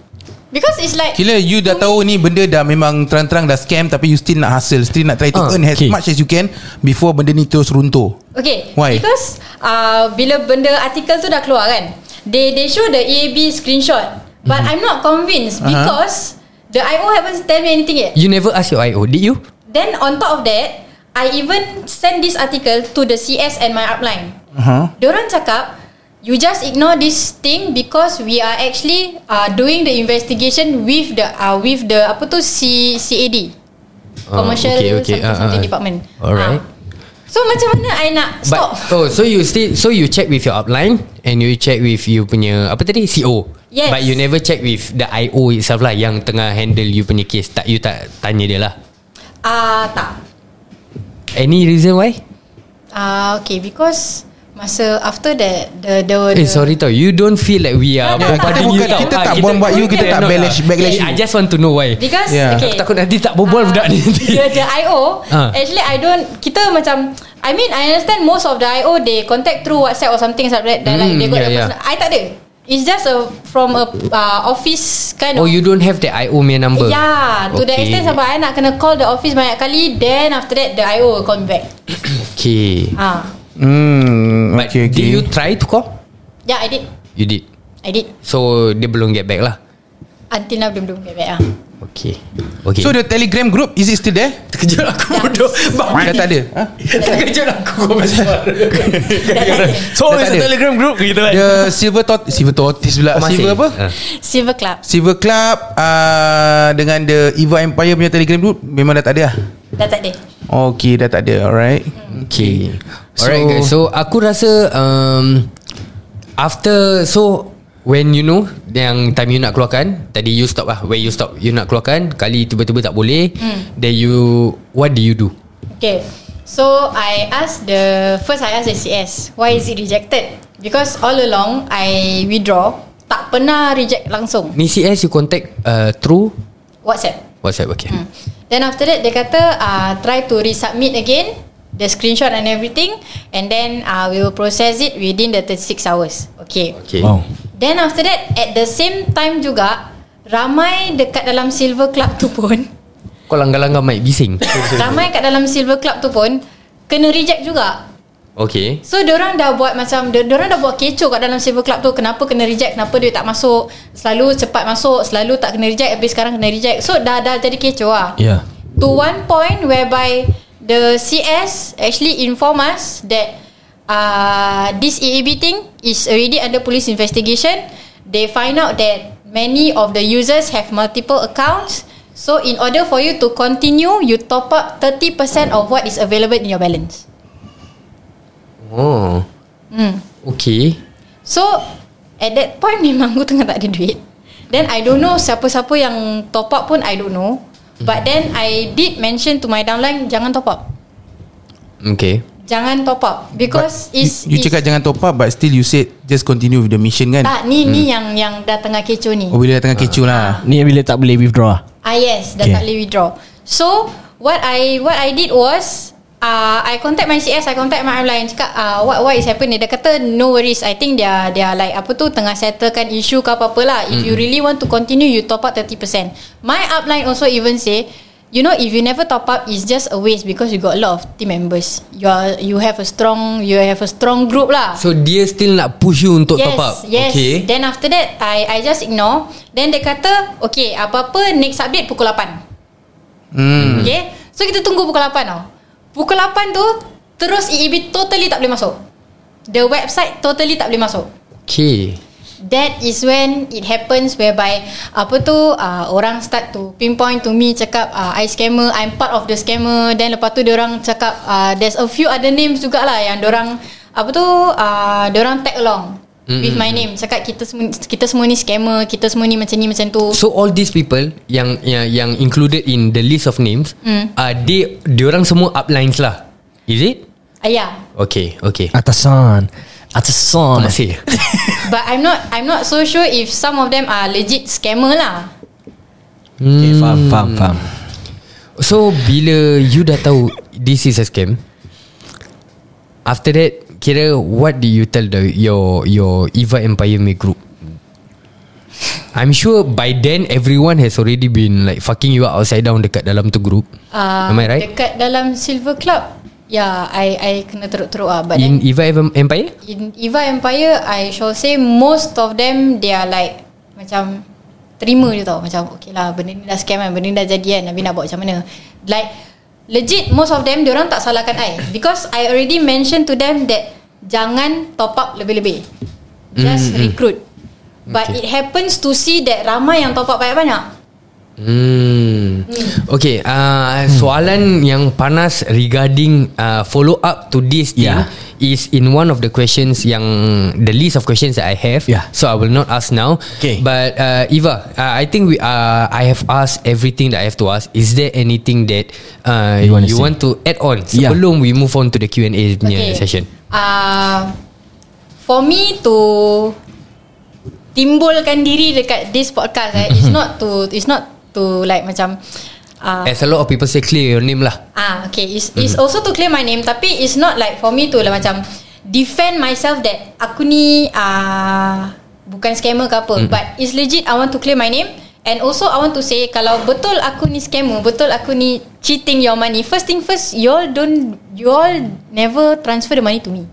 [SPEAKER 7] because it's like
[SPEAKER 6] Kira you dah tahu ni Benda dah memang Terang-terang dah scam Tapi you still nak hustle Still nak try to
[SPEAKER 2] Ah,
[SPEAKER 6] earn As
[SPEAKER 3] okay.
[SPEAKER 6] much as you can Before benda ni terus runtuh
[SPEAKER 7] okay
[SPEAKER 6] Why?
[SPEAKER 7] because uh, bila benda artikel tu dah keluar kan they they show the EAB screenshot but
[SPEAKER 6] Hmm.
[SPEAKER 7] I'm not convinced
[SPEAKER 6] Uh-huh.
[SPEAKER 7] because the IO haven't tell me anything yet
[SPEAKER 2] You never ask your IO Did you?
[SPEAKER 7] Then on top of that, I even send this article to the CS and my upline. Uh-huh. Diorang cakap, you just ignore this thing because we are actually uh, doing the investigation with the uh, with the apa tu C, CAD.
[SPEAKER 2] Ah,
[SPEAKER 7] Commercial
[SPEAKER 2] okay, okay.
[SPEAKER 7] something,
[SPEAKER 2] Ah,
[SPEAKER 7] something
[SPEAKER 2] ah.
[SPEAKER 7] department.
[SPEAKER 2] Alright.
[SPEAKER 7] Ah. So macam mana I nak stop?
[SPEAKER 2] But, oh, so you still So you check with your upline And you check with You punya Apa tadi? CO
[SPEAKER 7] Yes.
[SPEAKER 2] But you never check with the IO itself lah yang tengah handle you punya case. Tak you tak tanya dia lah.
[SPEAKER 7] Ah uh, tak.
[SPEAKER 2] Any reason why?
[SPEAKER 7] Ah uh, okay because masa after that the the,
[SPEAKER 2] Eh
[SPEAKER 7] the
[SPEAKER 2] sorry tau You don't feel like we are
[SPEAKER 6] No, no, no.
[SPEAKER 2] bombarding you
[SPEAKER 6] Kita bukan-
[SPEAKER 2] tau
[SPEAKER 6] kita
[SPEAKER 2] Ah,
[SPEAKER 6] tak bombard you, kita tak
[SPEAKER 2] cannot
[SPEAKER 6] backlash-
[SPEAKER 2] lah.
[SPEAKER 6] backlash
[SPEAKER 2] Eh,
[SPEAKER 6] you.
[SPEAKER 2] I just want to know why
[SPEAKER 7] Because
[SPEAKER 6] Yeah.
[SPEAKER 7] okay.
[SPEAKER 2] Aku takut nanti tak
[SPEAKER 7] Ah,
[SPEAKER 2] berbual Oh, budak ni nanti.
[SPEAKER 7] The, the IO
[SPEAKER 2] Ah.
[SPEAKER 7] Actually I don't Kita macam I mean I understand Most of the IO They contact through WhatsApp Or something like that mm, like,
[SPEAKER 2] Hmm, yeah,
[SPEAKER 7] They got yeah,
[SPEAKER 2] yeah.
[SPEAKER 7] yeah. Personal. I tak ada It's just a From a uh, Office kind
[SPEAKER 2] Oh
[SPEAKER 7] of
[SPEAKER 2] you don't have the IO punya number
[SPEAKER 7] Yeah Ya, To okay. the
[SPEAKER 2] Okay.
[SPEAKER 7] extent Sampai I nak kena call The office banyak kali Then after that The IO will call me back
[SPEAKER 2] Okay
[SPEAKER 7] Ah,
[SPEAKER 6] Hmm,
[SPEAKER 2] But
[SPEAKER 6] okay,
[SPEAKER 2] did
[SPEAKER 6] okay.
[SPEAKER 2] you try to call?
[SPEAKER 7] Yeah I did
[SPEAKER 2] You did
[SPEAKER 7] I did
[SPEAKER 2] So dia belum get back lah
[SPEAKER 7] Until now belum belum get back ah.
[SPEAKER 2] Okay Okay
[SPEAKER 6] So the Telegram group is it still there?
[SPEAKER 2] terkejut aku bodoh
[SPEAKER 6] Dah tak ada. Ha?
[SPEAKER 2] Terkejut aku Kau besar
[SPEAKER 3] So
[SPEAKER 6] Dah tak
[SPEAKER 3] it's a
[SPEAKER 6] ada.
[SPEAKER 3] telegram group gitu kan
[SPEAKER 6] The silver tot silver tortoise pula.
[SPEAKER 2] Masih.
[SPEAKER 6] Silver apa?
[SPEAKER 2] Ah.
[SPEAKER 7] Silver Club
[SPEAKER 6] Silver Club uh, dengan the Eva Empire punya Telegram group memang dah tak ada lah.
[SPEAKER 7] Dah tak ada
[SPEAKER 6] Okay, dah tak ada. Alright.
[SPEAKER 2] Okay
[SPEAKER 6] So-
[SPEAKER 2] Alright guys So aku rasa um, After So When you know Yang time you nak keluarkan Tadi you stop lah Where you stop You nak keluarkan Kali tiba-tiba tak boleh mm. Then you What do you do?
[SPEAKER 7] Okay. So I asked the first I asked the CS why is it rejected? Because all along I withdraw tak pernah reject langsung
[SPEAKER 2] Ni CS you contact uh, Through
[SPEAKER 7] WhatsApp.
[SPEAKER 2] WhatsApp okay mm.
[SPEAKER 7] Hmm. Then after that dia kata uh, try to resubmit again the screenshot and everything and then uh, we will process it within the 36 hours. Okay.
[SPEAKER 2] Okay
[SPEAKER 3] Wow
[SPEAKER 7] Then after that at the same time juga ramai dekat dalam Silver Club tu pun
[SPEAKER 2] Kau langgar-langgar mic bising
[SPEAKER 7] ramai kat dalam Silver Club tu pun kena reject juga.
[SPEAKER 2] Okay
[SPEAKER 7] So orang dah buat macam dia orang dah buat kecoh kat dalam silver club tu kenapa kena reject kenapa dia tak masuk selalu cepat masuk selalu tak kena reject tapi sekarang kena reject so dah dah jadi kecoh ah
[SPEAKER 2] Ya.
[SPEAKER 3] Yeah
[SPEAKER 7] to one point whereby the CS actually inform us that uh, this EAB thing is already under police investigation. They find out that many of the users have multiple accounts. So in order for you to continue, you top up 30% of what is available in your balance.
[SPEAKER 2] Oh
[SPEAKER 7] Hmm.
[SPEAKER 2] Okay
[SPEAKER 7] So at that point memang aku tengah tak ada duit. Then I don't know siapa-siapa yang top up pun I don't know.
[SPEAKER 6] Hmm.
[SPEAKER 7] But then I did mention to my downline jangan top up.
[SPEAKER 2] Okay
[SPEAKER 7] Jangan top up because
[SPEAKER 6] you,
[SPEAKER 7] is
[SPEAKER 6] you cakap jangan top up but still you said just continue with the mission kan?
[SPEAKER 7] tak ni ni yang yang dah tengah kecoh ni.
[SPEAKER 6] Oh, bila dah tengah kecoh lah.
[SPEAKER 3] Ni bila tak boleh withdraw lah
[SPEAKER 7] Ah yes, dah
[SPEAKER 3] Okay.
[SPEAKER 7] tak boleh withdraw. So what I what I did was uh, I contact my CS, I contact my online cakap uh, what what is happening. Dia kata no worries. I think they are they are like apa tu tengah settlekan issue ke apa-apa lah. If you really want to continue you top up 30%. My upline also even say You know, if you never top up, it's just a waste because you got a lot of team members. You are, you have a strong, you have a strong group lah.
[SPEAKER 2] So dia still nak push you Untuk
[SPEAKER 7] yes,
[SPEAKER 2] top up
[SPEAKER 7] Yes.
[SPEAKER 2] Okay
[SPEAKER 7] Then after that I I just ignore. Then dia kata, "Okay, apa-apa next update pukul 8." Hmm. Okay. So kita tunggu pukul 8 tau. Pukul 8 tu terus EEB totally tak boleh masuk. The website totally tak boleh masuk.
[SPEAKER 2] Okay
[SPEAKER 7] That is when it happens whereby apa tu uh, orang start to pinpoint to me cakap uh, I scammer, I'm part of the scammer. Then lepas tu orang cakap uh, there's a few other names jugalah yang orang apa tu uh, orang tag along mm-hmm. with my name cakap kita semua kita semua ni scammer, kita semua ni macam ni macam tu.
[SPEAKER 2] So all these people yang yang, yang included in the list of names,
[SPEAKER 7] Hmm.
[SPEAKER 2] mm. uh, they diorang semua uplines lah. Is it?
[SPEAKER 7] Uh, yeah.
[SPEAKER 2] Okay, okay.
[SPEAKER 3] Atasan Atasan
[SPEAKER 2] Masih.
[SPEAKER 7] But I'm not I'm not so sure if some of them are legit scammer lah.
[SPEAKER 2] Hmm.
[SPEAKER 3] Okay faham faham faham
[SPEAKER 2] So bila you dah tahu this is a scam, after that kira what do you tell the your your Eva Empire Me group? I'm sure by then everyone has already been like fucking you up outside down dekat dalam tu group.
[SPEAKER 7] Uh,
[SPEAKER 2] Am I right?
[SPEAKER 7] Dekat dalam Silver Club. Yeah, I I kena teruk-teruk ah. But
[SPEAKER 2] In
[SPEAKER 7] then
[SPEAKER 2] Eva Ev- Empire?
[SPEAKER 7] in Eva Empire, I shall say most of them they are like macam terima je tau. Macam okay lah, benda ni dah scam kan, benda ni dah jadi kan. Nabi nak buat macam mana? Like legit most of them orang tak salahkan I because I already mention to them that jangan top up lebih-lebih.
[SPEAKER 2] Mm-hmm.
[SPEAKER 7] Just recruit. But it happens to see that ramai yang top up banyak-banyak.
[SPEAKER 2] Hmm. Okay,
[SPEAKER 3] Hmm.
[SPEAKER 2] uh, soalan yang panas regarding uh, follow up to this thing
[SPEAKER 3] Yeah.
[SPEAKER 2] is in one of the questions yang the list of questions that I have.
[SPEAKER 3] Yeah.
[SPEAKER 2] So I will not ask now.
[SPEAKER 3] Okay.
[SPEAKER 2] But uh, Eva, uh, I think we uh, I have asked everything that I have to ask. Is there anything that uh, you,
[SPEAKER 3] You wanna
[SPEAKER 2] you
[SPEAKER 3] say?
[SPEAKER 2] want to add on
[SPEAKER 3] Yeah.
[SPEAKER 2] sebelum we move on to the Q&A punya session?
[SPEAKER 7] Uh, for me to timbulkan diri dekat this podcast eh, it's not to it's not to like macam uh,
[SPEAKER 2] As Mm-hmm. a lot of people say, clear your name lah.
[SPEAKER 7] Ah, okay. It's, it's also to clear my name tapi it's not like for me to lah macam defend myself that aku ni ah bukan scammer ke
[SPEAKER 2] Mm-hmm.
[SPEAKER 7] apa. But it's legit I want to clear my name and also I want to say kalau betul aku ni scammer, betul aku ni cheating your money. First thing first, you all don't you all never transfer the money to me.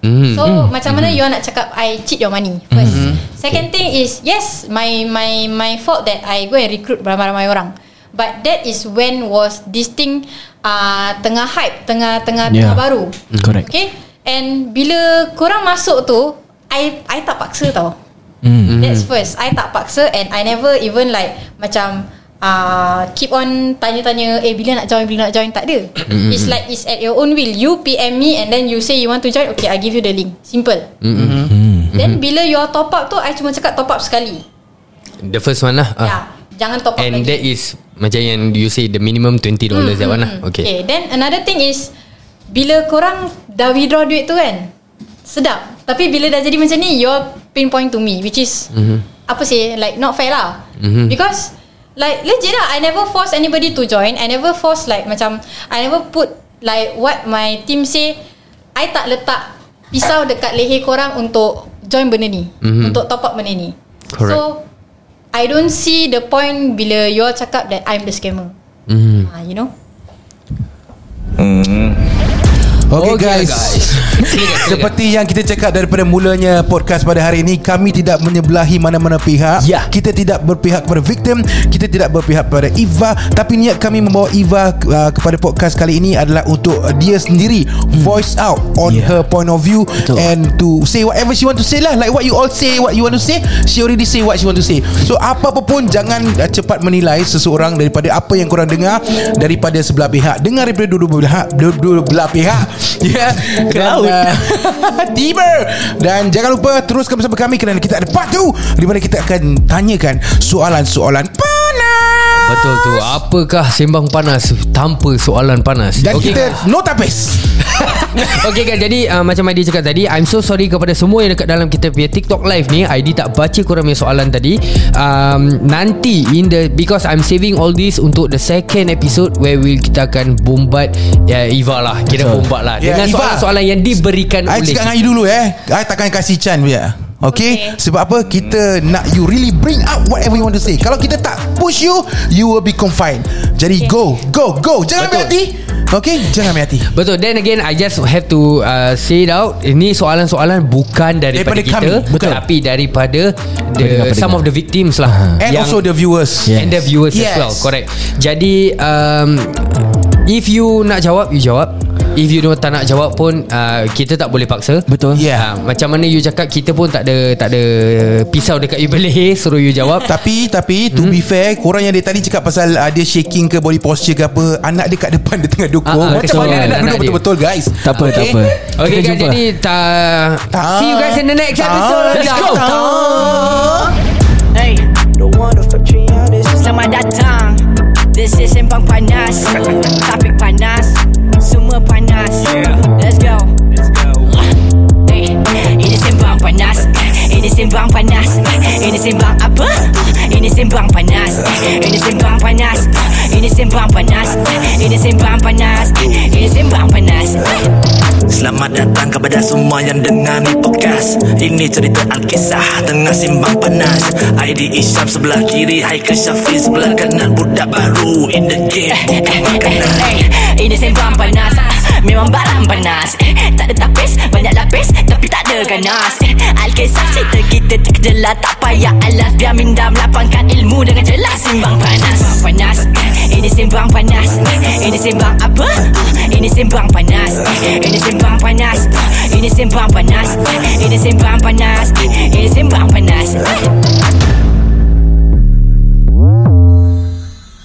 [SPEAKER 3] Hmm.
[SPEAKER 2] Mm.
[SPEAKER 7] So mm. macam mana you all nak cakap I cheat your money first. Mm. Second thing is yes my my my fault that I go and recruit ramai-ramai orang. But that is when was this thing uh, tengah hype, tengah tengah
[SPEAKER 3] Yeah.
[SPEAKER 7] yeah. tengah baru.
[SPEAKER 3] Mm. Correct.
[SPEAKER 7] Okay. And bila korang masuk tu, I I tak paksa tau. Mm. That's
[SPEAKER 2] Hmm.
[SPEAKER 7] first. I tak paksa and I never even like macam uh, keep on tanya-tanya eh bila nak join bila nak join tak ada.
[SPEAKER 2] Hmm.
[SPEAKER 7] Mm. It's like it's at your own will. You PM me and then you say you want to join. Okay, I give you the link. Simple.
[SPEAKER 2] Hmm.
[SPEAKER 7] Mm. Then bila you all top up tu I cuma cakap top up sekali.
[SPEAKER 2] The first one lah.
[SPEAKER 7] Uh.
[SPEAKER 2] Ah.
[SPEAKER 7] Yeah. Jangan top up
[SPEAKER 2] And
[SPEAKER 7] lagi. Hmm.
[SPEAKER 2] that is macam yang you say the minimum $20 mm, that one lah. Okay.
[SPEAKER 7] Mm-hmm. okay. Then another thing is bila korang dah withdraw duit tu kan sedap. Tapi bila dah jadi macam ni you're pinpoint to me which is mm-hmm. apa sih like not fair lah. Mm-hmm. Because like legit lah I never force anybody to join. I never force like macam I never put like what my team say I tak letak pisau dekat leher korang untuk join benda ni. Mm-hmm. Untuk top up benda ni.
[SPEAKER 2] Correct.
[SPEAKER 7] So I don't see the point bila you all cakap that I'm the scammer. Mm. Uh, you know?
[SPEAKER 2] Okay,
[SPEAKER 6] Okay, guys.
[SPEAKER 2] guys.
[SPEAKER 6] Seperti yang kita cakap daripada mulanya podcast pada hari ini Kami tidak menyebelahi mana-mana pihak
[SPEAKER 3] Ya.
[SPEAKER 6] Kita tidak berpihak kepada victim Kita tidak berpihak kepada Eva Tapi niat kami membawa Eva uh, kepada podcast kali ini adalah untuk uh, dia sendiri Voice out on
[SPEAKER 3] Hmm. Ya.
[SPEAKER 6] her point of view
[SPEAKER 3] Betul.
[SPEAKER 6] And to say whatever she want to say lah Like what you all say What you want to say She already say what she want to say So apa-apa pun Jangan uh, cepat menilai seseorang Daripada apa yang korang dengar Daripada sebelah pihak Dengar daripada dua-dua belah Dua-dua belah pihak Ya yeah. Dan, uh, Tiba Dan jangan lupa Teruskan bersama kami Kerana kita ada part 2 Di mana kita akan Tanyakan Soalan-soalan Panas
[SPEAKER 2] Betul tu Apakah sembang panas Tanpa soalan panas
[SPEAKER 6] Dan
[SPEAKER 2] Okay
[SPEAKER 6] okay. kita No tapis
[SPEAKER 2] Okay guys Jadi uh, macam Adi cakap tadi I'm so sorry kepada semua Yang dekat dalam kita punya TikTok live ni Adi tak baca korang punya soalan tadi um, Nanti in the Because I'm saving all this Untuk the second episode Where we kita akan Bombat uh, Eva lah Kira
[SPEAKER 3] Betul.
[SPEAKER 2] bombat lah
[SPEAKER 6] Yeah,
[SPEAKER 2] Dengan
[SPEAKER 6] Eva.
[SPEAKER 2] soalan-soalan Yang diberikan
[SPEAKER 6] I
[SPEAKER 2] oleh
[SPEAKER 6] Ya, cakap dengan you dulu eh I takkan kasih chance punya Okay? okay
[SPEAKER 7] Okay.
[SPEAKER 6] Sebab apa Kita nak you really bring up Whatever you want to say Kalau kita tak push you You will be confined Jadi okay. go Go Go Jangan ambil hati Okay Jangan ambil hati
[SPEAKER 2] Betul Then again I just have to uh, Say it out Ini soalan-soalan Bukan daripada,
[SPEAKER 6] Daripada
[SPEAKER 2] kita
[SPEAKER 6] kami. Betul.
[SPEAKER 2] Tapi daripada the,
[SPEAKER 3] Daripada
[SPEAKER 2] Some
[SPEAKER 3] kita.
[SPEAKER 2] of the victims lah
[SPEAKER 6] And
[SPEAKER 2] Yang-
[SPEAKER 6] also the viewers
[SPEAKER 3] Yeah.
[SPEAKER 2] yes. and the viewers yes. as
[SPEAKER 6] Yes.
[SPEAKER 2] well correct jadi um, if you nak jawab you jawab if you don't tak nak jawab pun uh, kita tak boleh paksa
[SPEAKER 3] Betul.
[SPEAKER 2] yeah.
[SPEAKER 6] Yeah.
[SPEAKER 2] macam mana you cakap kita pun tak ada tak ada pisau dekat you leher suruh you jawab
[SPEAKER 6] Tapi Tapi To
[SPEAKER 2] Hmm.
[SPEAKER 6] be fair Korang yang dia tadi cakap Pasal uh, dia shaking ke Body posture ke apa Anak dia kat depan Dia tengah dukung
[SPEAKER 2] Ah, ah,
[SPEAKER 6] Macam
[SPEAKER 2] betul.
[SPEAKER 6] mana
[SPEAKER 2] Anak
[SPEAKER 6] anak duduk
[SPEAKER 2] dia.
[SPEAKER 6] betul-betul guys
[SPEAKER 3] Tak apa, tak apa.
[SPEAKER 2] Okay
[SPEAKER 3] Kita
[SPEAKER 2] guys
[SPEAKER 3] jumpa.
[SPEAKER 2] jadi ta,
[SPEAKER 6] Ta-
[SPEAKER 2] See you guys in the next
[SPEAKER 6] ta-
[SPEAKER 2] episode
[SPEAKER 6] Ah, Let's go.
[SPEAKER 1] Hey,
[SPEAKER 5] The one of Patreon is
[SPEAKER 1] selamat datang This is Sembang Panas Topik panas Semua panas
[SPEAKER 5] Yeah.
[SPEAKER 1] Let's go
[SPEAKER 5] Let's go
[SPEAKER 1] Hey, Ini Sembang Panas Ini Sembang Panas Ini Sembang apa? Ini Sembang Panas Ini Sembang Panas Ini Sembang Panas Ini Sembang Panas Ini Sembang Panas
[SPEAKER 5] Selamat datang kepada semua yang dengar ni podcast Ini cerita Alkisah tengah simbang panas ID Isyam sebelah kiri Haikal Syafi sebelah kanan Budak baru in the game bukan makanan
[SPEAKER 1] Hey, Eh, Ini Sembang Panas Ah, Memang barang panas Eh, Tak ada tapis Banyak lapis Tapi tak ada ganas Eh, Alkisah cerita kita terkejelah Tak payah alas Biar mindam lapangkan ilmu Dengan jelas Sembang Panas Sembang Panas Eh, Ini Sembang Panas Eh, Ini Sembang apa? Ah, Ini Sembang Panas Eh, Ini Sembang Panas Ah, Eh, Eh, Ini Sembang Panas Ini Sembang Panas Ini Sembang Panas